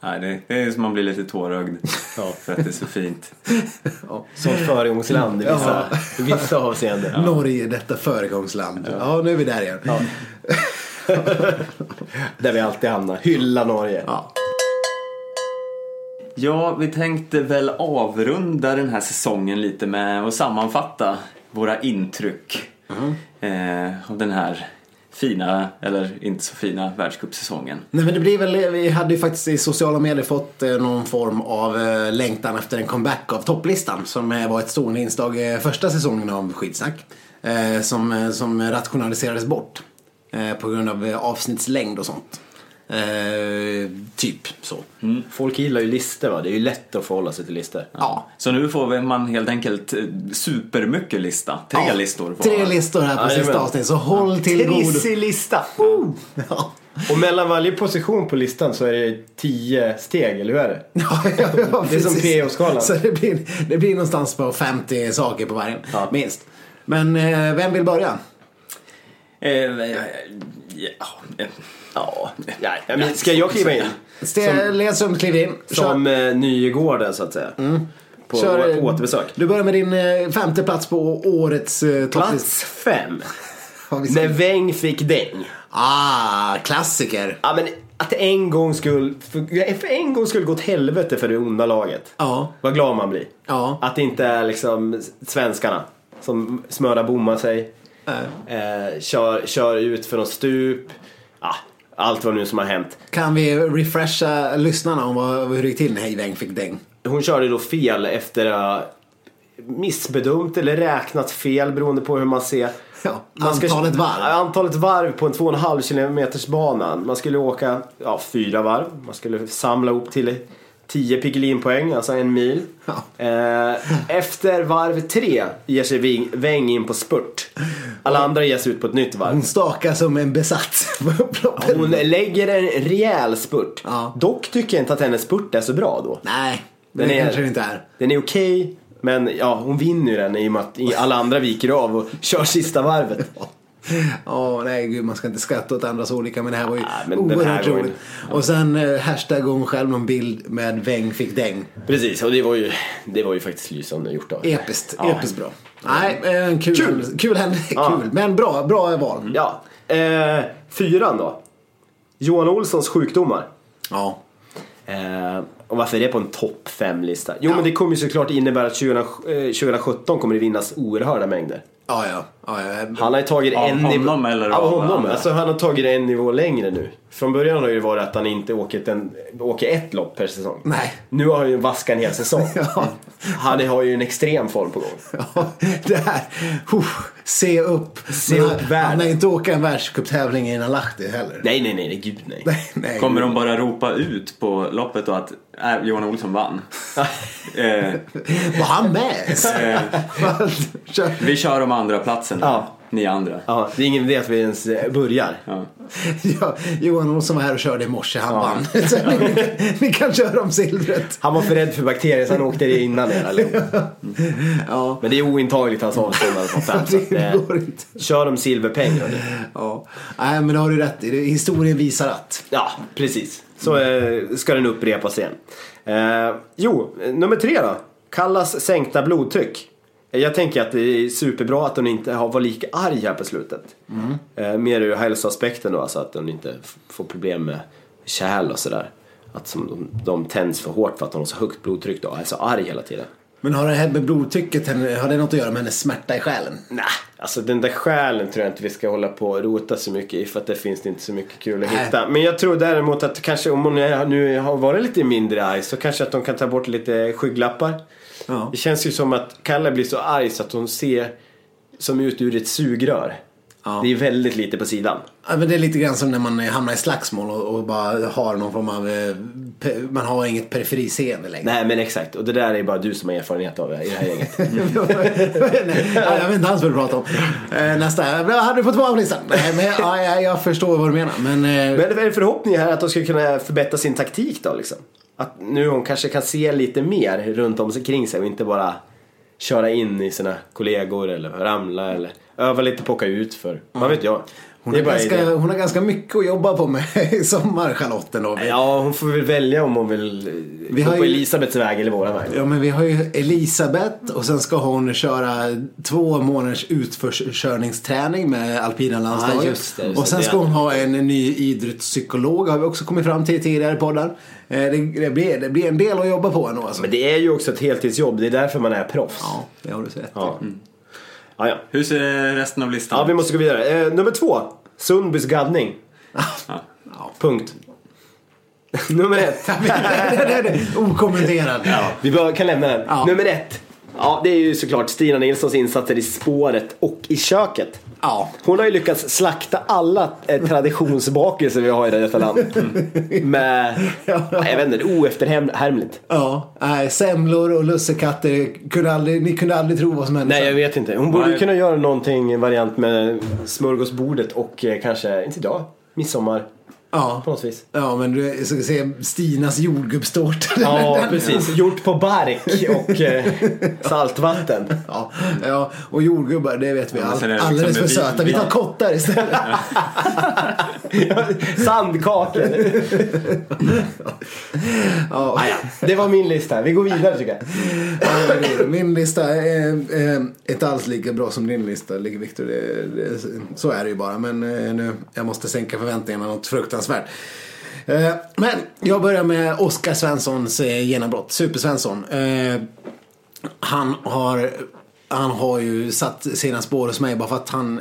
A: Nej, det, det är som man blir lite tårögd för att det är så fint.
C: Som föregångsland i vissa, i vissa avseenden.
B: Norge, detta föregångsland. Ja. nu är vi där igen. Ja.
C: Där vi alltid hamnar. Hylla Norge.
A: Ja, vi tänkte väl avrunda den här säsongen lite med att sammanfatta våra intryck
C: Mm.
A: eh, av den här fina, eller inte så fina, världscupsäsongen.
B: Nej men det blir väl, vi hade ju faktiskt i sociala medier fått eh, någon form av eh, längtan efter en comeback av topplistan som eh, var ett stående inslag eh, första säsongen av Skidsnack. eh, Som, eh, som rationaliserades bort eh, på grund av eh, avsnittslängd och sånt. Eh, typ så.
C: Folk gillar ju listor va. Det är ju lätt att förhålla sig till listor.
B: Ja.
A: Så nu får vi- man helt enkelt eh, supermycket lista. Tre
B: Ja,
A: listor. får
B: Tre
A: man.
B: listor här på
C: Jajamän.
B: sista avsnittet så håll till godo.
C: Trissig lista!
B: Ja.
C: Och mellan varje position på listan så är det tio steg, eller hur är det?
B: Ja, ja, ja,
C: Det är som
B: precis.
C: PO-skalan.
B: Så det blir, det blir någonstans på 50 saker på varje,
C: Ja.
B: minst. Men eh, vem vill börja?
A: Eh, eh, ja, eh,
C: Ja. Nej, men ska jag kliva in?
B: Sten Ledström kliver in. Kör. Mm.
C: Som eh, Nygården så att säga. På
B: Kör, eh,
C: återbesök.
B: Du börjar med din eh, femte plats på årets eh, topplista.
C: Plats fem.
B: Har vi sagt?
C: När Weng fick däng.
B: Ah, klassiker.
C: Ja, men att det en gång skulle, för, för en gång skulle gå åt helvete för det onda laget.
B: Ja.
C: Vad glad man blir.
B: Ja.
C: Att det inte är liksom svenskarna som smörar bommar sig.
B: Eh,
C: Eh, kör, kör ut för någon stup. Ja, allt vad nu som har hänt.
B: Kan vi refresha lyssnarna om vad, hur det gick till när Hej Weng fick däng?
C: Hon körde då fel efter att ha missbedömt eller räknat fel beroende på hur man ser.
B: Ja,
C: Man ska-
B: antalet
C: Ja,
B: varv.
C: Antalet varv på en 2,5 kilometers bana. Man skulle åka ja, fyra varv. Man skulle samla ihop till 10 pigelinpoäng, alltså en mil.
B: Ja.
C: Eh, efter varv tre ger sig Wing- Weng in på spurt. Alla andra ger sig ut på ett nytt varv.
B: Hon stakar som en besatt på upploppet.
C: Hon lägger en rejäl spurt.
B: Mm. Ja.
C: Dock tycker jag inte att hennes spurt är så bra då.
B: Nej,
C: Den
B: det
C: är-
B: kanske det inte är.
C: Den är okej, men ja, hon vinner ju den i och med att alla andra viker av och kör sista varvet.
B: Ja, nej gud man ska inte skratta åt andras olycka men det här var ju
C: Nej, men den här
B: oerhört
C: gången-
B: roligt. Och sen eh, hashtag hon själv någon bild med Weng fick däng.
C: Precis, och det var ju, det var ju faktiskt lysande gjort av
B: Episkt,
C: Ja.
B: episkt bra. Nej, eh, en kul, kul, kul, händelse.
C: Ja. Mm.
B: kul. Men bra, bra val.
C: Ja, eh, fyran då. Johan Olssons sjukdomar.
B: Ja.
C: Eh, och varför är det på en topp fem lista Jo men det kommer ju såklart innebära att 20, eh, 2017 kommer det vinnas oerhörda mängder.
B: Ja, ja. ja, ja.
C: Han har ju tagit
A: Av
C: en nivå-
A: honom eller
C: av
A: av
C: honom.
A: andra?
C: Alltså han har tagit en nivå längre nu. Från början har det ju varit att han inte åker, en, åker ett lopp per säsong.
B: Nej.
C: Nu har han ju vaskat en hel säsong.
B: Ja.
C: Han har ju en extrem form på gång.
B: Ja, det här. Uff, se upp.
C: Se
B: Men
C: upp
B: han-
C: världen.
B: Han har inte åka en världscuptävling innan Lahti heller.
C: Nej, nej, nej, nej, gud nej.
B: Nej, nej.
A: Kommer de bara ropa ut på loppet då att äh, Johan Olsson vann? eh,
B: Var han med?
A: eh,
B: Kör.
A: vi kör om andra platsen.
C: Ja.
A: Ni andra.
C: Ja, det är ingen idé att vi ens eh, börjar.
A: Ja.
B: Ja, Johan Olsson var här och körde i morse, han vann. Så ni, ni kan köra om silvret.
C: Han var för rädd för bakterier så han åkte det innan er allihop.
B: Ja,
C: Men det är ointagligt hans avstånd eller sånt där. Så att,
B: det
C: eh,
B: går inte.
C: kör om silverpeng. hörni.
B: Ja. Nej, men det har du rätt i. Det- Historien visar att.
C: Ja, precis. Så
B: Mm.
C: eh, ska den upprepas igen. Eh, jo, eh, nummer tre då. Kallas sänkta blodtryck. Eh, Jag tänker att det är superbra att hon inte har varit lika arg här på slutet.
B: Mm.
C: Eh, mer ur hälsoaspekten då, alltså att hon inte f- får problem med kärl och sådär. Att som de, de tänds för hårt för att hon har så högt blodtryck då, är så arg hela tiden.
B: Men har det här med blodtrycket henne- har det något att göra med hennes smärta i själen?
C: Nej, alltså den där själen tror jag inte vi ska hålla på och rota så mycket i för att det finns inte så mycket kul att
B: Nej.
C: hitta. Men jag tror däremot att kanske om hon är- nu har varit lite mindre arg så kanske att de kan ta bort lite skygglappar.
B: Ja.
C: Det känns ju som att Kalle blir så arg så att hon ser som ut ur ett sugrör.
B: Ja.
C: Det är väldigt lite på sidan.
B: Ja, men det är lite grann som när man eh, hamnar i slagsmål och, och bara har någon form av... eh, pe- Man har inget periferiseende längre.
C: Nej men exakt, och det där är bara du som har erfarenhet av det i det här gänget.
B: Nej, jag vet inte alls vad du pratar om. Eh, Nästa. Vad hade du på tvåan på listan? Nej, men ja, jag, jag förstår vad du menar. Men, eh,
C: Men är det förhoppningen här att de ska kunna förbättra sin taktik då liksom? Att nu hon kanske kan se lite mer runt om sig kring sig och inte bara köra in i sina kollegor eller ramla eller öva lite på att åka ut för. Vad vet jag?
B: Hon
C: Det
B: har,
C: är bara idé.
B: ganska, hon har ganska mycket att jobba på med i sommar, Charlotten. Då. Vi-
C: Ja, hon får väl välja om hon vill
B: Vi
C: Vi
B: har
C: gå på
B: ju-
C: Elisabeths väg eller våra väg.
B: Ja, men vi har ju Elisabeth och sen ska hon köra två månaders utförskörningsträning med alpina landslaget.
C: Ah, just det, just det.
B: och sen
C: Det
B: ska
C: är-
B: hon ha en ny idrottspsykolog har vi också kommit fram till i tidigare poddar. Eh, Det, det, blir, det blir en del att jobba på ändå alltså.
C: Men det är ju också ett heltidsjobb, det är därför man är proffs.
B: Ja, det har du sett.
C: Ja. Ja, ja.
A: Hur ser resten av listan
C: ja vi
A: ut?
C: måste gå vidare. Eh, nummer två, Sundbys gaddning.
A: Ja.
C: Punkt. nummer ett.
B: Okommenterad.
C: Vi bör, kan lämna den.
B: Ja.
C: Nummer ett. Ja, det är ju såklart Stina Nilssons insatser i spåret och i köket.
B: Ja.
C: Hon har ju lyckats slakta alla eh, traditionsbakelser vi har i detta land. Med, jag vet inte, oefterhärmligt.
B: Ja, nej, semlor och lussekatter. Kunde aldrig, ni kunde aldrig tro vad som hände.
C: Nej, jag vet inte. Hon borde ju
A: Nej.
C: kunna göra någonting i variant med smörgåsbordet och eh, kanske, inte idag, midsommar.
B: Ja.
C: På något vis.
B: Ja, men du ska se Stinas jordgubbstårta.
C: Ja, precis. Gjort på bark och eh, saltvatten.
B: Ja, ja, och jordgubbar, det vet vi.
A: men
B: All,
A: sen är det liksom
B: alldeles för
A: vi-
B: söta. Vi tar
A: vi-
B: kottar istället.
C: Sandkakor.
B: Ja.
C: Ah, ja. Det var min lista. Vi går vidare tycker jag.
B: Min lista är eh, inte alls lika bra som din lista, ligger Viktor. Det, det, så är det ju bara. Men eh, nu, jag måste sänka förväntningarna något fruktansvärt. Eh, Men jag börjar med Oskar Svenssons eh, genombrott, Supersvensson. Eh, Han har, han har ju satt sina spår hos mig bara för att han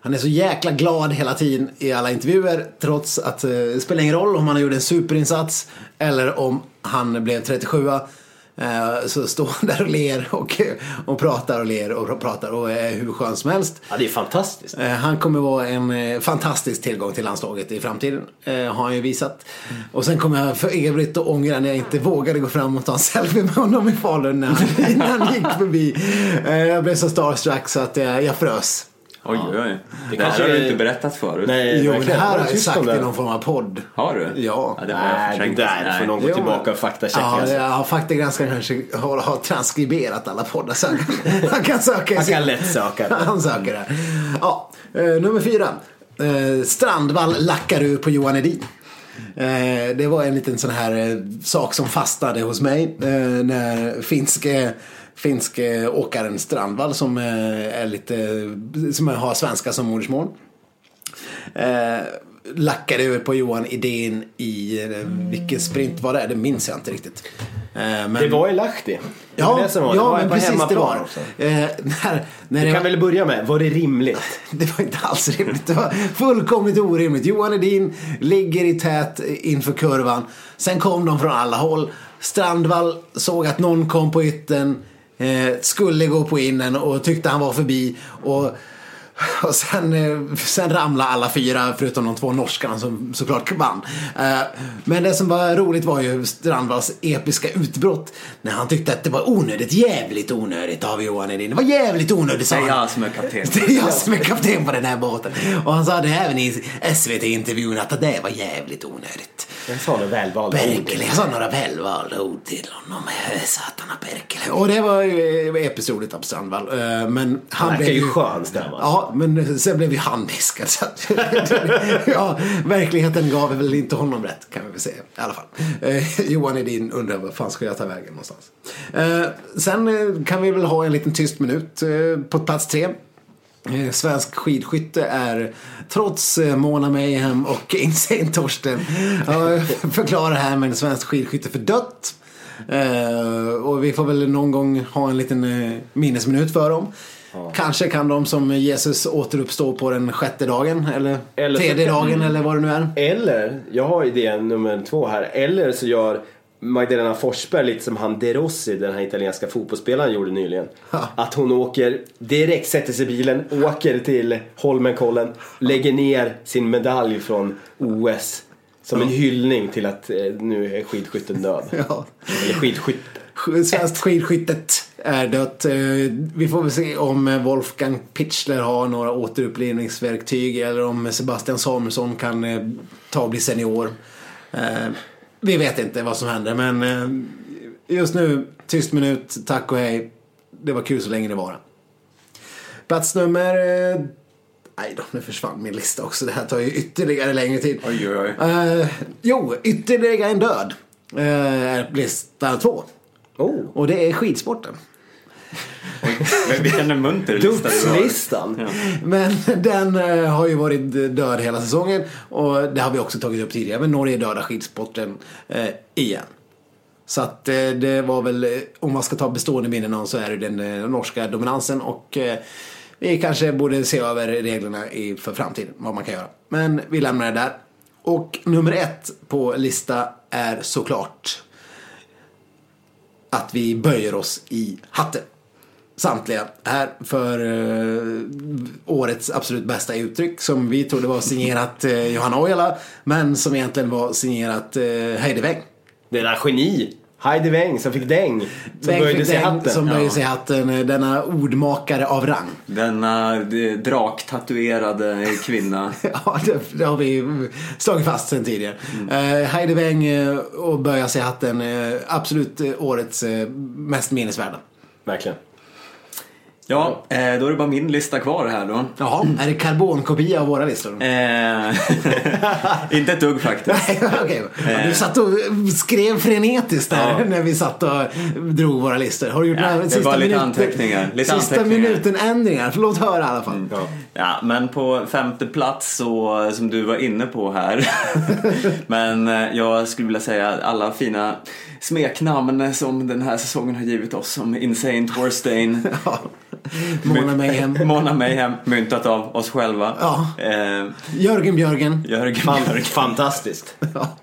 B: han är så jäkla glad hela tiden i alla intervjuer trots att eh, det spelar ingen roll om han gjorde en superinsats eller om han blev 37 eh, så står han där och ler och, och pratar och ler och pratar och är hur skön som helst.
C: Ja, det är fantastiskt.
B: Eh, Han kommer vara en eh, fantastisk tillgång till landslaget i framtiden. eh, Har han ju visat.
C: Mm.
B: Och sen kommer jag för evigt att ångra när jag inte vågade gå fram och ta en selfie med honom i Falun när han, när han gick förbi. Eh, Jag blev så starstruck så att eh, jag frös.
A: Oj, oj, oj. Det, här
C: kanske
A: har du
C: är-
A: inte berättat förut.
C: Nej,
B: Jo, men det
C: Eh, verkligen.
B: här
C: Vad
B: har jag
C: tyst om
B: sagt
C: det.
B: i någon form av podd.
A: Har du?
B: Ja.
A: ja det har jag
C: Nej, det
A: förträngt.
C: där får någon gå
B: Jo, men-
C: tillbaka och faktachecka.
B: Ja,
C: alltså.
B: det- ja, faktagranskaren kanske har, har transkriberat alla poddar så han kan, han kan söka. i
C: Man
B: sin-
C: kan lätt söka.
B: Han söker det. Ja, eh, nummer fyra. Eh, Strandvall lackar ur på Johan Edin. Eh, det var en liten sån här eh, sak som fastnade hos mig eh, när finske Finsk eh, åkaren Strandvall som eh, är lite, som har svenska som modersmål. Eh, lackade över på Johan Idén i, eh, vilken sprint var det? Det minns jag inte riktigt. Eh, men,
C: Det var i Lahti. Det var
B: ja,
C: det som var.
B: ja,
C: det var
B: men
C: på
B: precis det
C: hemmaplan
B: var.
C: också.
B: Eh, när, när
C: Vi
B: det,
C: kan väl börja med, var det rimligt?
B: det var inte alls rimligt. Det var fullkomligt orimligt. Johan Edin ligger i tät inför kurvan. Sen kom de från alla håll. Strandvall såg att någon kom på ytten. Eh, skulle gå på innen och tyckte han var förbi. Och, och sen, eh, sen ramlade alla fyra förutom de två norskarna som såklart vann. Eh, men det som var roligt var ju Strandvalls episka utbrott. När han tyckte att det var onödigt, jävligt onödigt av Johan Edin. Det var jävligt onödigt sa
A: Det är
B: han.
A: jag som är kapten.
B: Det är jag som är kapten på den här båten. Och han sa det även i SVT-intervjun att det där var jävligt onödigt.
C: Jag sa nog välvalda ord.
B: Berkele, jag sa några välvalda ord till honom. Eh, Satana Berkele. Och det var ju eh, episkt roligt av Strandvall. Eh, Men han
C: Han
B: blev
C: verkar ju
B: ju...
C: skön Strandvall.
B: Ja, men sen blev ju han diskad. Så att, ja, verkligheten gav väl inte honom rätt kan vi väl säga. I alla fall. Eh, Johan Edin undrar vad fan ska jag ta vägen någonstans. Eh, sen eh, kan vi väl ha en liten tyst minut eh, på plats tre. Eh, Svensk skidskytte är trots eh, Mona Mayhem och Insane Torsten eh, förklarar här med svensk skidskytte för dött. Eh, och vi får väl någon gång ha en liten eh, minnesminut för dem. Kanske kan de som Jesus återuppstå på den sjätte dagen eller,
C: Eller så
B: tredje
C: kan- Mm.
B: dagen eller vad det nu är.
C: Eller, jag har idé nummer två här, eller så gör Magdalena Forsberg lite som han De Rossi, den här italienska fotbollsspelaren gjorde nyligen.
B: Ha.
C: Att hon åker direkt, sätter sig i bilen, åker till Holmenkollen, lägger ner sin medalj från OS. Som en hyllning till att eh, nu är skidskytten död.
B: Ja.
C: Eller skidskytte.
B: Sk- Svenskt skidskyttet är dött. Eh, Vi får väl se om eh, Wolfgang Pichler har några återupplivningsverktyg eller om Sebastian Samuelsson kan eh, ta och bli senior. Eh, Vi vet inte vad som händer men eh, just nu, tyst minut, tack och hej. Det var kul så länge det var. Plats nummer... eh, Nej då, nu försvann min lista också. Det här tar ju ytterligare längre tid.
A: Oj, oj, oj.
B: Eh, jo, ytterligare en död. Eh, är lista två.
C: Oh,
B: Och det är skidsporten.
A: Men Vilken munter lista du har.
C: Duktslistan!
B: Men den eh, har ju varit död hela säsongen. Och det har vi också tagit upp tidigare. Men Norge är döda skidsporten eh, igen. Så att eh, det var väl, eh, om man ska ta bestående minnen av så är det den eh, norska dominansen. Och eh, vi kanske borde se över reglerna i, för framtiden. Vad man kan göra. Men vi lämnar det där. Och nummer ett på lista är såklart att vi böjer oss i hatten. Samtliga här för eh, årets absolut bästa uttryck som vi trodde var signerat eh, Johanna Ojala men som egentligen var signerat eh, Heideveng.
C: Det där geni! Heidi Weng som fick däng. Som
B: Bengt
C: böjde
B: fick
C: sig i
B: den
C: hatten.
B: Som
A: Ja.
B: böjde sig i hatten, eh, denna ordmakare av rang.
A: Denna eh, draktatuerade kvinna.
B: Ja, det, det har vi slagit fast sen tidigare. Mm. Heidi Weng eh, och böja sig i hatten, eh, absolut eh, årets eh, mest minnesvärda.
C: Verkligen.
A: Ja, eh, då är det bara min lista kvar här då.
B: Jaha, är det karbonkopia av våra listor?
A: Eh, inte ett dugg faktiskt.
B: Nej, okej. Ja, Du satt och skrev frenetiskt där
A: Ja.
B: när vi satt och drog våra listor. Har du gjort
A: Ja,
B: några
A: det
B: sista
A: var lite
B: minuten-
A: anteckningar, lite
B: sista
A: anteckningar. Mm.
B: minuten-ändringar? Förlåt höra i alla fall.
A: Ja, men på femte plats så, som du var inne på här. men eh, jag skulle vilja säga att alla fina smeknamn som den här säsongen har givit oss som Insane Torstein.
B: Ja. Mona Mayhem.
A: Mona Mayhem, myntat av oss själva.
B: Ja.
A: Eh,
B: Jörgen Björgen.
A: Jörgen
C: Fan,
A: Björk.
C: fantastiskt.
B: Ja.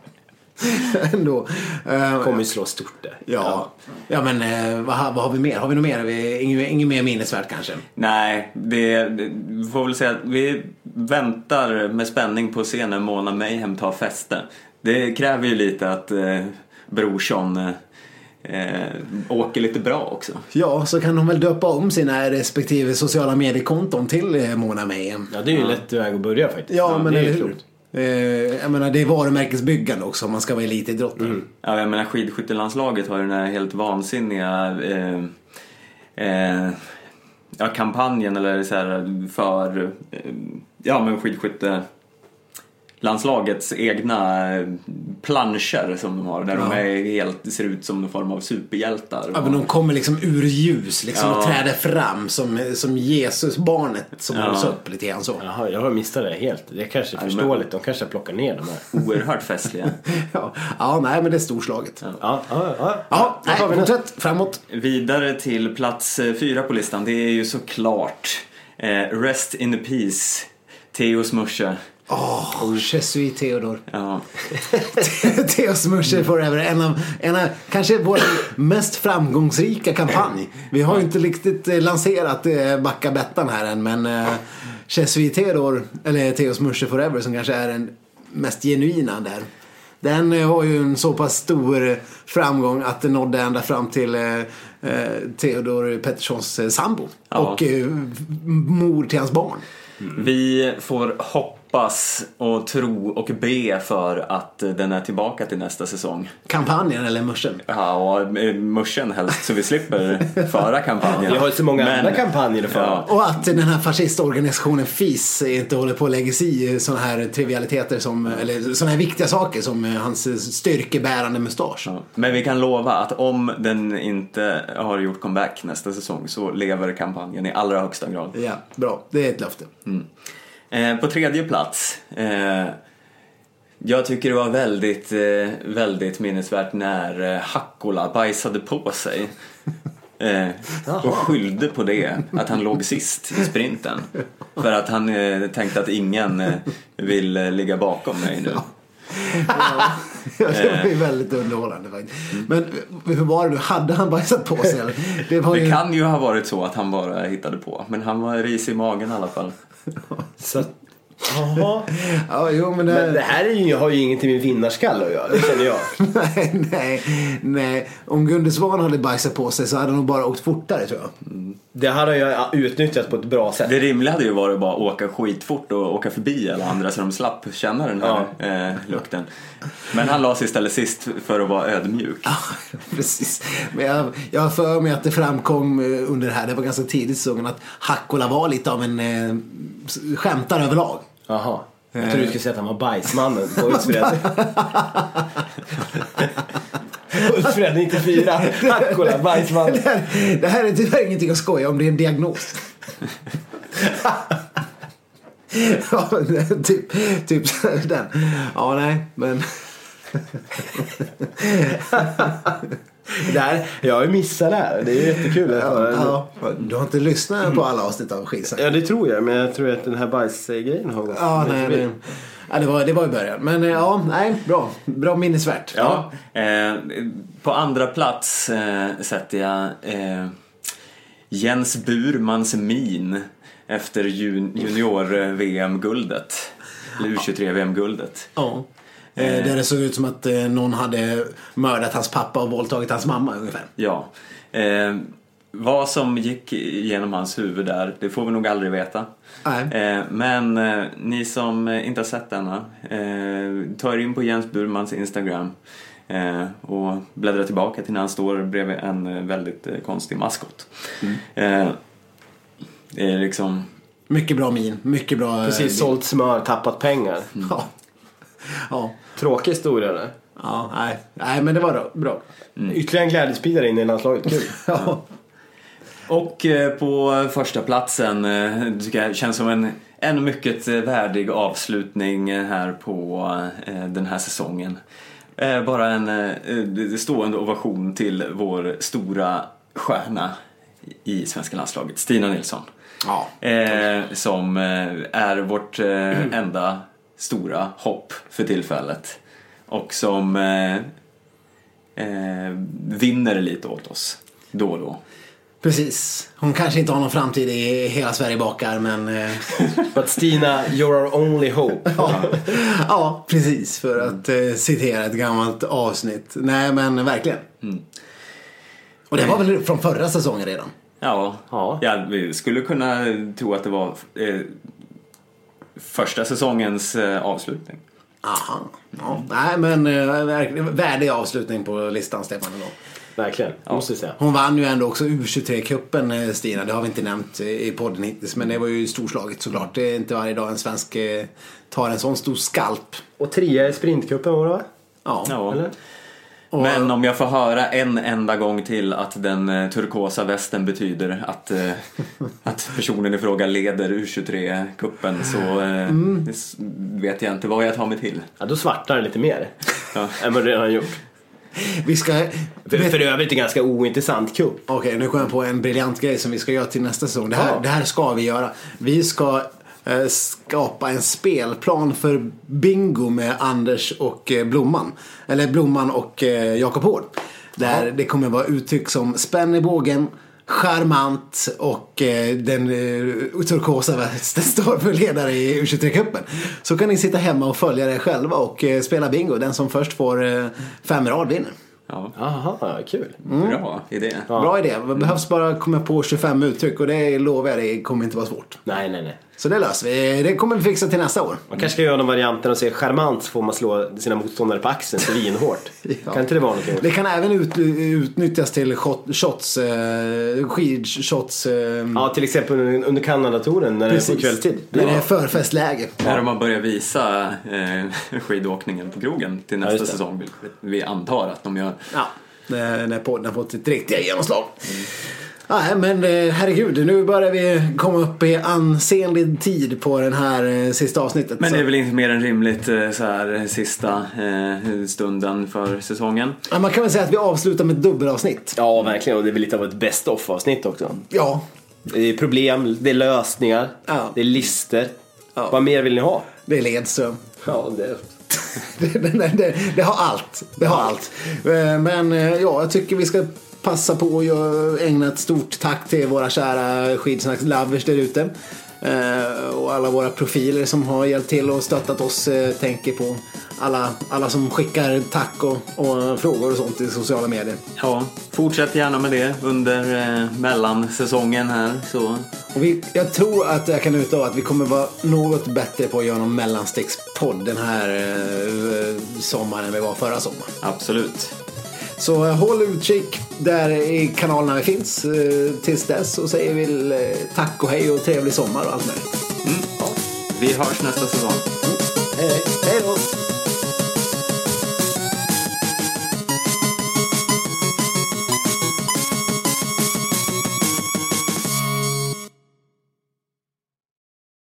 B: Ändå. Eh,
C: Kommer ju slå stort där.
B: Ja. ja, men eh, vad, har- vad har vi mer? Har vi något mer? Har vi- Inget, inget mer minnesvärt kanske?
A: Nej, det, det- vi får väl säga att vi väntar med spänning på att se när Mona Mayhem tar fäste. Det kräver ju lite att eh, Brorsson eh, eh, åker lite bra också.
B: Ja, så kan de väl döpa om sina respektive sociala mediekonton till eh, Mona Mayhem.
C: Ja, det är ju en lätt väg att börja faktiskt.
B: Ja, men
C: det är
B: eller
C: ju
B: hur?
C: klokt.
B: Eh, jag menar, det är varumärkesbyggande också om man ska vara elitidrottare.
A: Ja, jag menar skidskyttelandslaget har ju den här helt vansinniga eh, eh, ja, kampanjen eller så här för eh, ja, men skidskytte landslagets egna eh, planscher som de har där de
B: Ja.
A: är helt, ser ut som någon form av superhjältar.
B: Ja, men de kommer liksom ur ljus liksom, och
A: Ja.
B: träder fram som, som Jesus barnet som hålls upp lite grann så.
C: Jaha, jag har missat det helt. Det är kanske
A: men-
C: förståeligt. De kanske plockar ner de här.
A: Oerhört festliga.
B: Ja. ja, nej men det är storslaget. Ja,
C: Ja, ja, ja. Då
B: nej,
C: tar vi nästa.
B: fortsätt framåt.
A: Vidare till plats eh, fyra på listan, det är ju såklart eh, Rest in peace, Theos morsa.
B: Åh, oh, Jesuit Theodor.
A: Ja.
B: Theos Musche Forever. En av, en av kanske vår mest framgångsrika kampanj. Vi har ju inte riktigt eh, lanserat eh, Backa Bettan här än men eh, Jesuit Theodor, eller Theos Musche Forever som kanske är den mest genuina där. Den eh, har ju en så pass stor eh, framgång att den nådde ända fram till eh, eh, Theodor Petterssons eh, sambo
A: Ja.
B: och eh, mor till hans barn.
A: Vi får hoppas och tro och be för att den är tillbaka till nästa säsong.
B: Kampanjen eller muschen.
A: Ja, och eh, muschen helst så vi slipper föra kampanjen.
C: Vi har ju så många
A: Men-
C: andra kampanjer att föra.
A: Ja.
B: Och att den här fascistorganisationen FIS inte håller på och lägger sig i sådana här trivialiteter som, eller sådana här viktiga saker som eh, hans styrkebärande mustasch.
A: Ja. Men vi kan lova att om den inte har gjort comeback nästa säsong så lever kampanjen i allra högsta grad.
B: Ja, bra. Det är ett löfte.
A: Mm. Eh, på tredje plats. Eh, jag tycker det var väldigt, eh, väldigt minnesvärt när eh, Hakkola bajsade på sig. Eh, och skyllde på det, att han låg sist i sprinten. För att han eh, tänkte att ingen eh, vill eh, ligga bakom mig nu.
B: Ja, det var ju väldigt underhållande faktiskt. Men hur var det nu? Hade han bajsat på sig eller? Det var
A: Mm. Det
B: ju...
A: kan ju ha varit så att han bara hittade på, men han var risig i magen i alla fall.
C: Så att, jaha.
B: Ja, jo men... eh,
C: Men det här är ju, har ju ingenting med vinnarskalle att göra, det känner jag.
B: nej, nej, nej. Om Gunde Svan hade bajsat på sig så hade han nog bara åkt fortare tror jag.
C: Det här har jag utnyttjat på ett bra sätt.
A: Det rimliga hade ju varit att bara åka skitfort och åka förbi alla andra så de slapp känna den här eh, lukten. Men han la sig istället sist för att vara ödmjuk.
B: Precis. Men jag, jag har för mig att det framkom eh, under det här, det var ganska tidigt i säsongen, att Hakkola var lite av en eh, s- skämtare överlag.
C: Jaha. Jag trodde du skulle säga att han var bajsmannen på Ulfred. Ulfred 94. Kolla, bajsmannen.
B: Det här, det här är tyvärr ingenting att skoja om, det är en diagnos. ja, men, typ, typ så här, den. Ja, nej, men.
C: Det här, jag har ju missat det här. Det är ju jättekul. att höra.
B: Ja, du har inte lyssnat på alla avsnitt av Skitsnack?
C: Ja, det tror jag. Men jag tror att den här bajsgrejen har gått
B: Ja,
C: mig
B: nej,
C: förbi.
B: det, ja, det, var, det var i början. Men eh, ja, nej, bra. Bra minnesvärt.
A: Ja. Eh, på andra plats eh, sätter jag eh, Jens Burmans min efter jun- junior-VM-guldet. Eller U23-VM-guldet.
B: Ja. Eh, Där det såg ut som att eh, någon hade mördat hans pappa och våldtagit hans mamma ungefär.
A: Ja. Eh, vad som gick genom hans huvud där, det får vi nog aldrig veta.
B: Nej.
A: Eh, men eh, ni som eh, inte har sett denna, eh, ta er in på Jens Burmans Instagram eh, och bläddra tillbaka till när han står bredvid en eh, väldigt eh, konstig maskot. Eh, det är liksom,
B: Mycket bra min, mycket bra... eh,
C: Precis, sålt smör, tappat pengar.
B: Ja. ja.
C: Tråkig historia eller?
B: Ja, nej. nej, men det var då, bra.
C: Ytterligare en glädjespridare in i landslaget, kul.
B: Ja.
A: Och eh, på första platsen eh, tycker jag känns som en, en mycket eh, värdig avslutning eh, här på eh, den här säsongen. Eh, Bara en eh, stående ovation till vår stora stjärna i svenska landslaget, Stina Nilsson.
B: Ja.
A: Eh, Som eh, är vårt eh, enda stora hopp för tillfället. Och som eh, eh, vinner lite åt oss då och då.
B: Precis. Hon kanske inte har någon framtid i Hela Sverige bakar men... eh,
C: But Stina, you're our only hope.
B: ja. ja, precis. För att eh, citera ett gammalt avsnitt. Nej men verkligen. Och det var väl från förra säsongen redan?
A: Ja,
C: Ja.
A: ja vi skulle kunna tro att det var eh, första säsongens eh, avslutning.
B: Aha. Ja. Nej men eh, verkligen värdig avslutning på listan Stefan ändå.
C: Verkligen, måste jag säga.
B: Hon vann ju ändå också U23-cupen eh, Stina, det har vi inte nämnt eh, i podden hittills. Men det var ju storslaget såklart. Det är inte varje dag en svensk eh, tar en sån stor skalp.
C: Och trea i sprintcupen var det va?
B: Ja.
A: Ja.
C: Eller?
A: Men om jag får höra en enda gång till att den eh, turkosa västen betyder att, eh, att personen i fråga leder U23-cupen så eh, s- vet jag inte vad jag tar mig till.
C: Ja, då svartar det lite mer.
A: Ja.
C: Än vad det redan gjort.
B: Vi ska...
C: För,
B: vet-
C: för övrigt en ganska ointressant cup.
B: Okej, nu kom jag på en briljant grej som vi ska göra till nästa säsong. Det här,
C: Ja.
B: det här ska vi göra. Vi ska eh, skapa en spelplan för bingo med Anders och eh, Blomman. Eller Blomman och eh, Jakob Hård. Där det kommer vara uttryck som spänn i bågen, charmant och eh, den eh, turkosa västen står för ledare i U23-cupen. Så kan ni sitta hemma och följa det själva och eh, spela bingo. Den som först får eh, fem i rad vinner.
A: Ja,
C: Aha, kul.
A: Bra idé.
B: Bra idé. Det behövs bara komma på 25 uttryck och det lovar jag dig kommer inte vara svårt.
C: Nej, nej, nej.
B: Så det löser vi. Det kommer vi fixa till nästa år.
C: Man kanske ska göra någon varianten och säga charmant så får man slå sina motståndare på axeln svinhårt.
B: Ja.
C: Kan inte det vara någonting?
B: Det kan även ut, utnyttjas till shot- shots, eh, skidshots. Eh,
C: Ja, till exempel under under Kanadatoren när det är på kvällstid.
B: När det är förfestläge.
A: När de har börjat visa eh, skidåkningen på krogen till nästa
C: just det.
A: säsong, vilket vi antar att de gör.
B: Ja, när när podden har fått sitt riktiga genomslag. Nej men eh, herregud, nu börjar vi komma upp i ansenlig tid på den här eh, sista avsnittet.
A: Men
B: så-
A: det är väl inte mer än rimligt eh, så här sista eh, stunden för säsongen.
B: Ja, Man kan väl säga att vi avslutar med ett dubbelavsnitt.
C: Ja, verkligen. Och det blir lite av ett best of avsnitt också.
B: Ja,
C: Det är problem, det är lösningar,
B: Ja.
C: det är lister.
B: Ja.
C: Vad mer vill ni ha?
B: det är Ledström.
C: Ja, det...
B: det, det, det, det har allt. Det har allt. Eh, Men eh, ja, jag tycker vi ska passa på att göra- ägna ett stort tack till våra kära skidsnackslovers där ute. Eh, Och alla våra profiler som har hjälpt till och stöttat oss. eh, Tänker på alla, alla som skickar tack och, och frågor och sånt i sociala medier.
A: Ja, fortsätt gärna med det under eh, mellansäsongen här. Så.
B: Och vi, jag tror att jag kan utlova att vi kommer vara något bättre på att göra någon mellanstickspodd den här eh, sommaren än vi var förra sommaren.
A: Absolut.
B: Så eh, håll utkik där i kanalerna vi finns eh, tills dess och säger väl eh, tack och hej och trevlig sommar och allt möjligt.
A: Vi hörs nästa säsong.
B: Hej, hej då!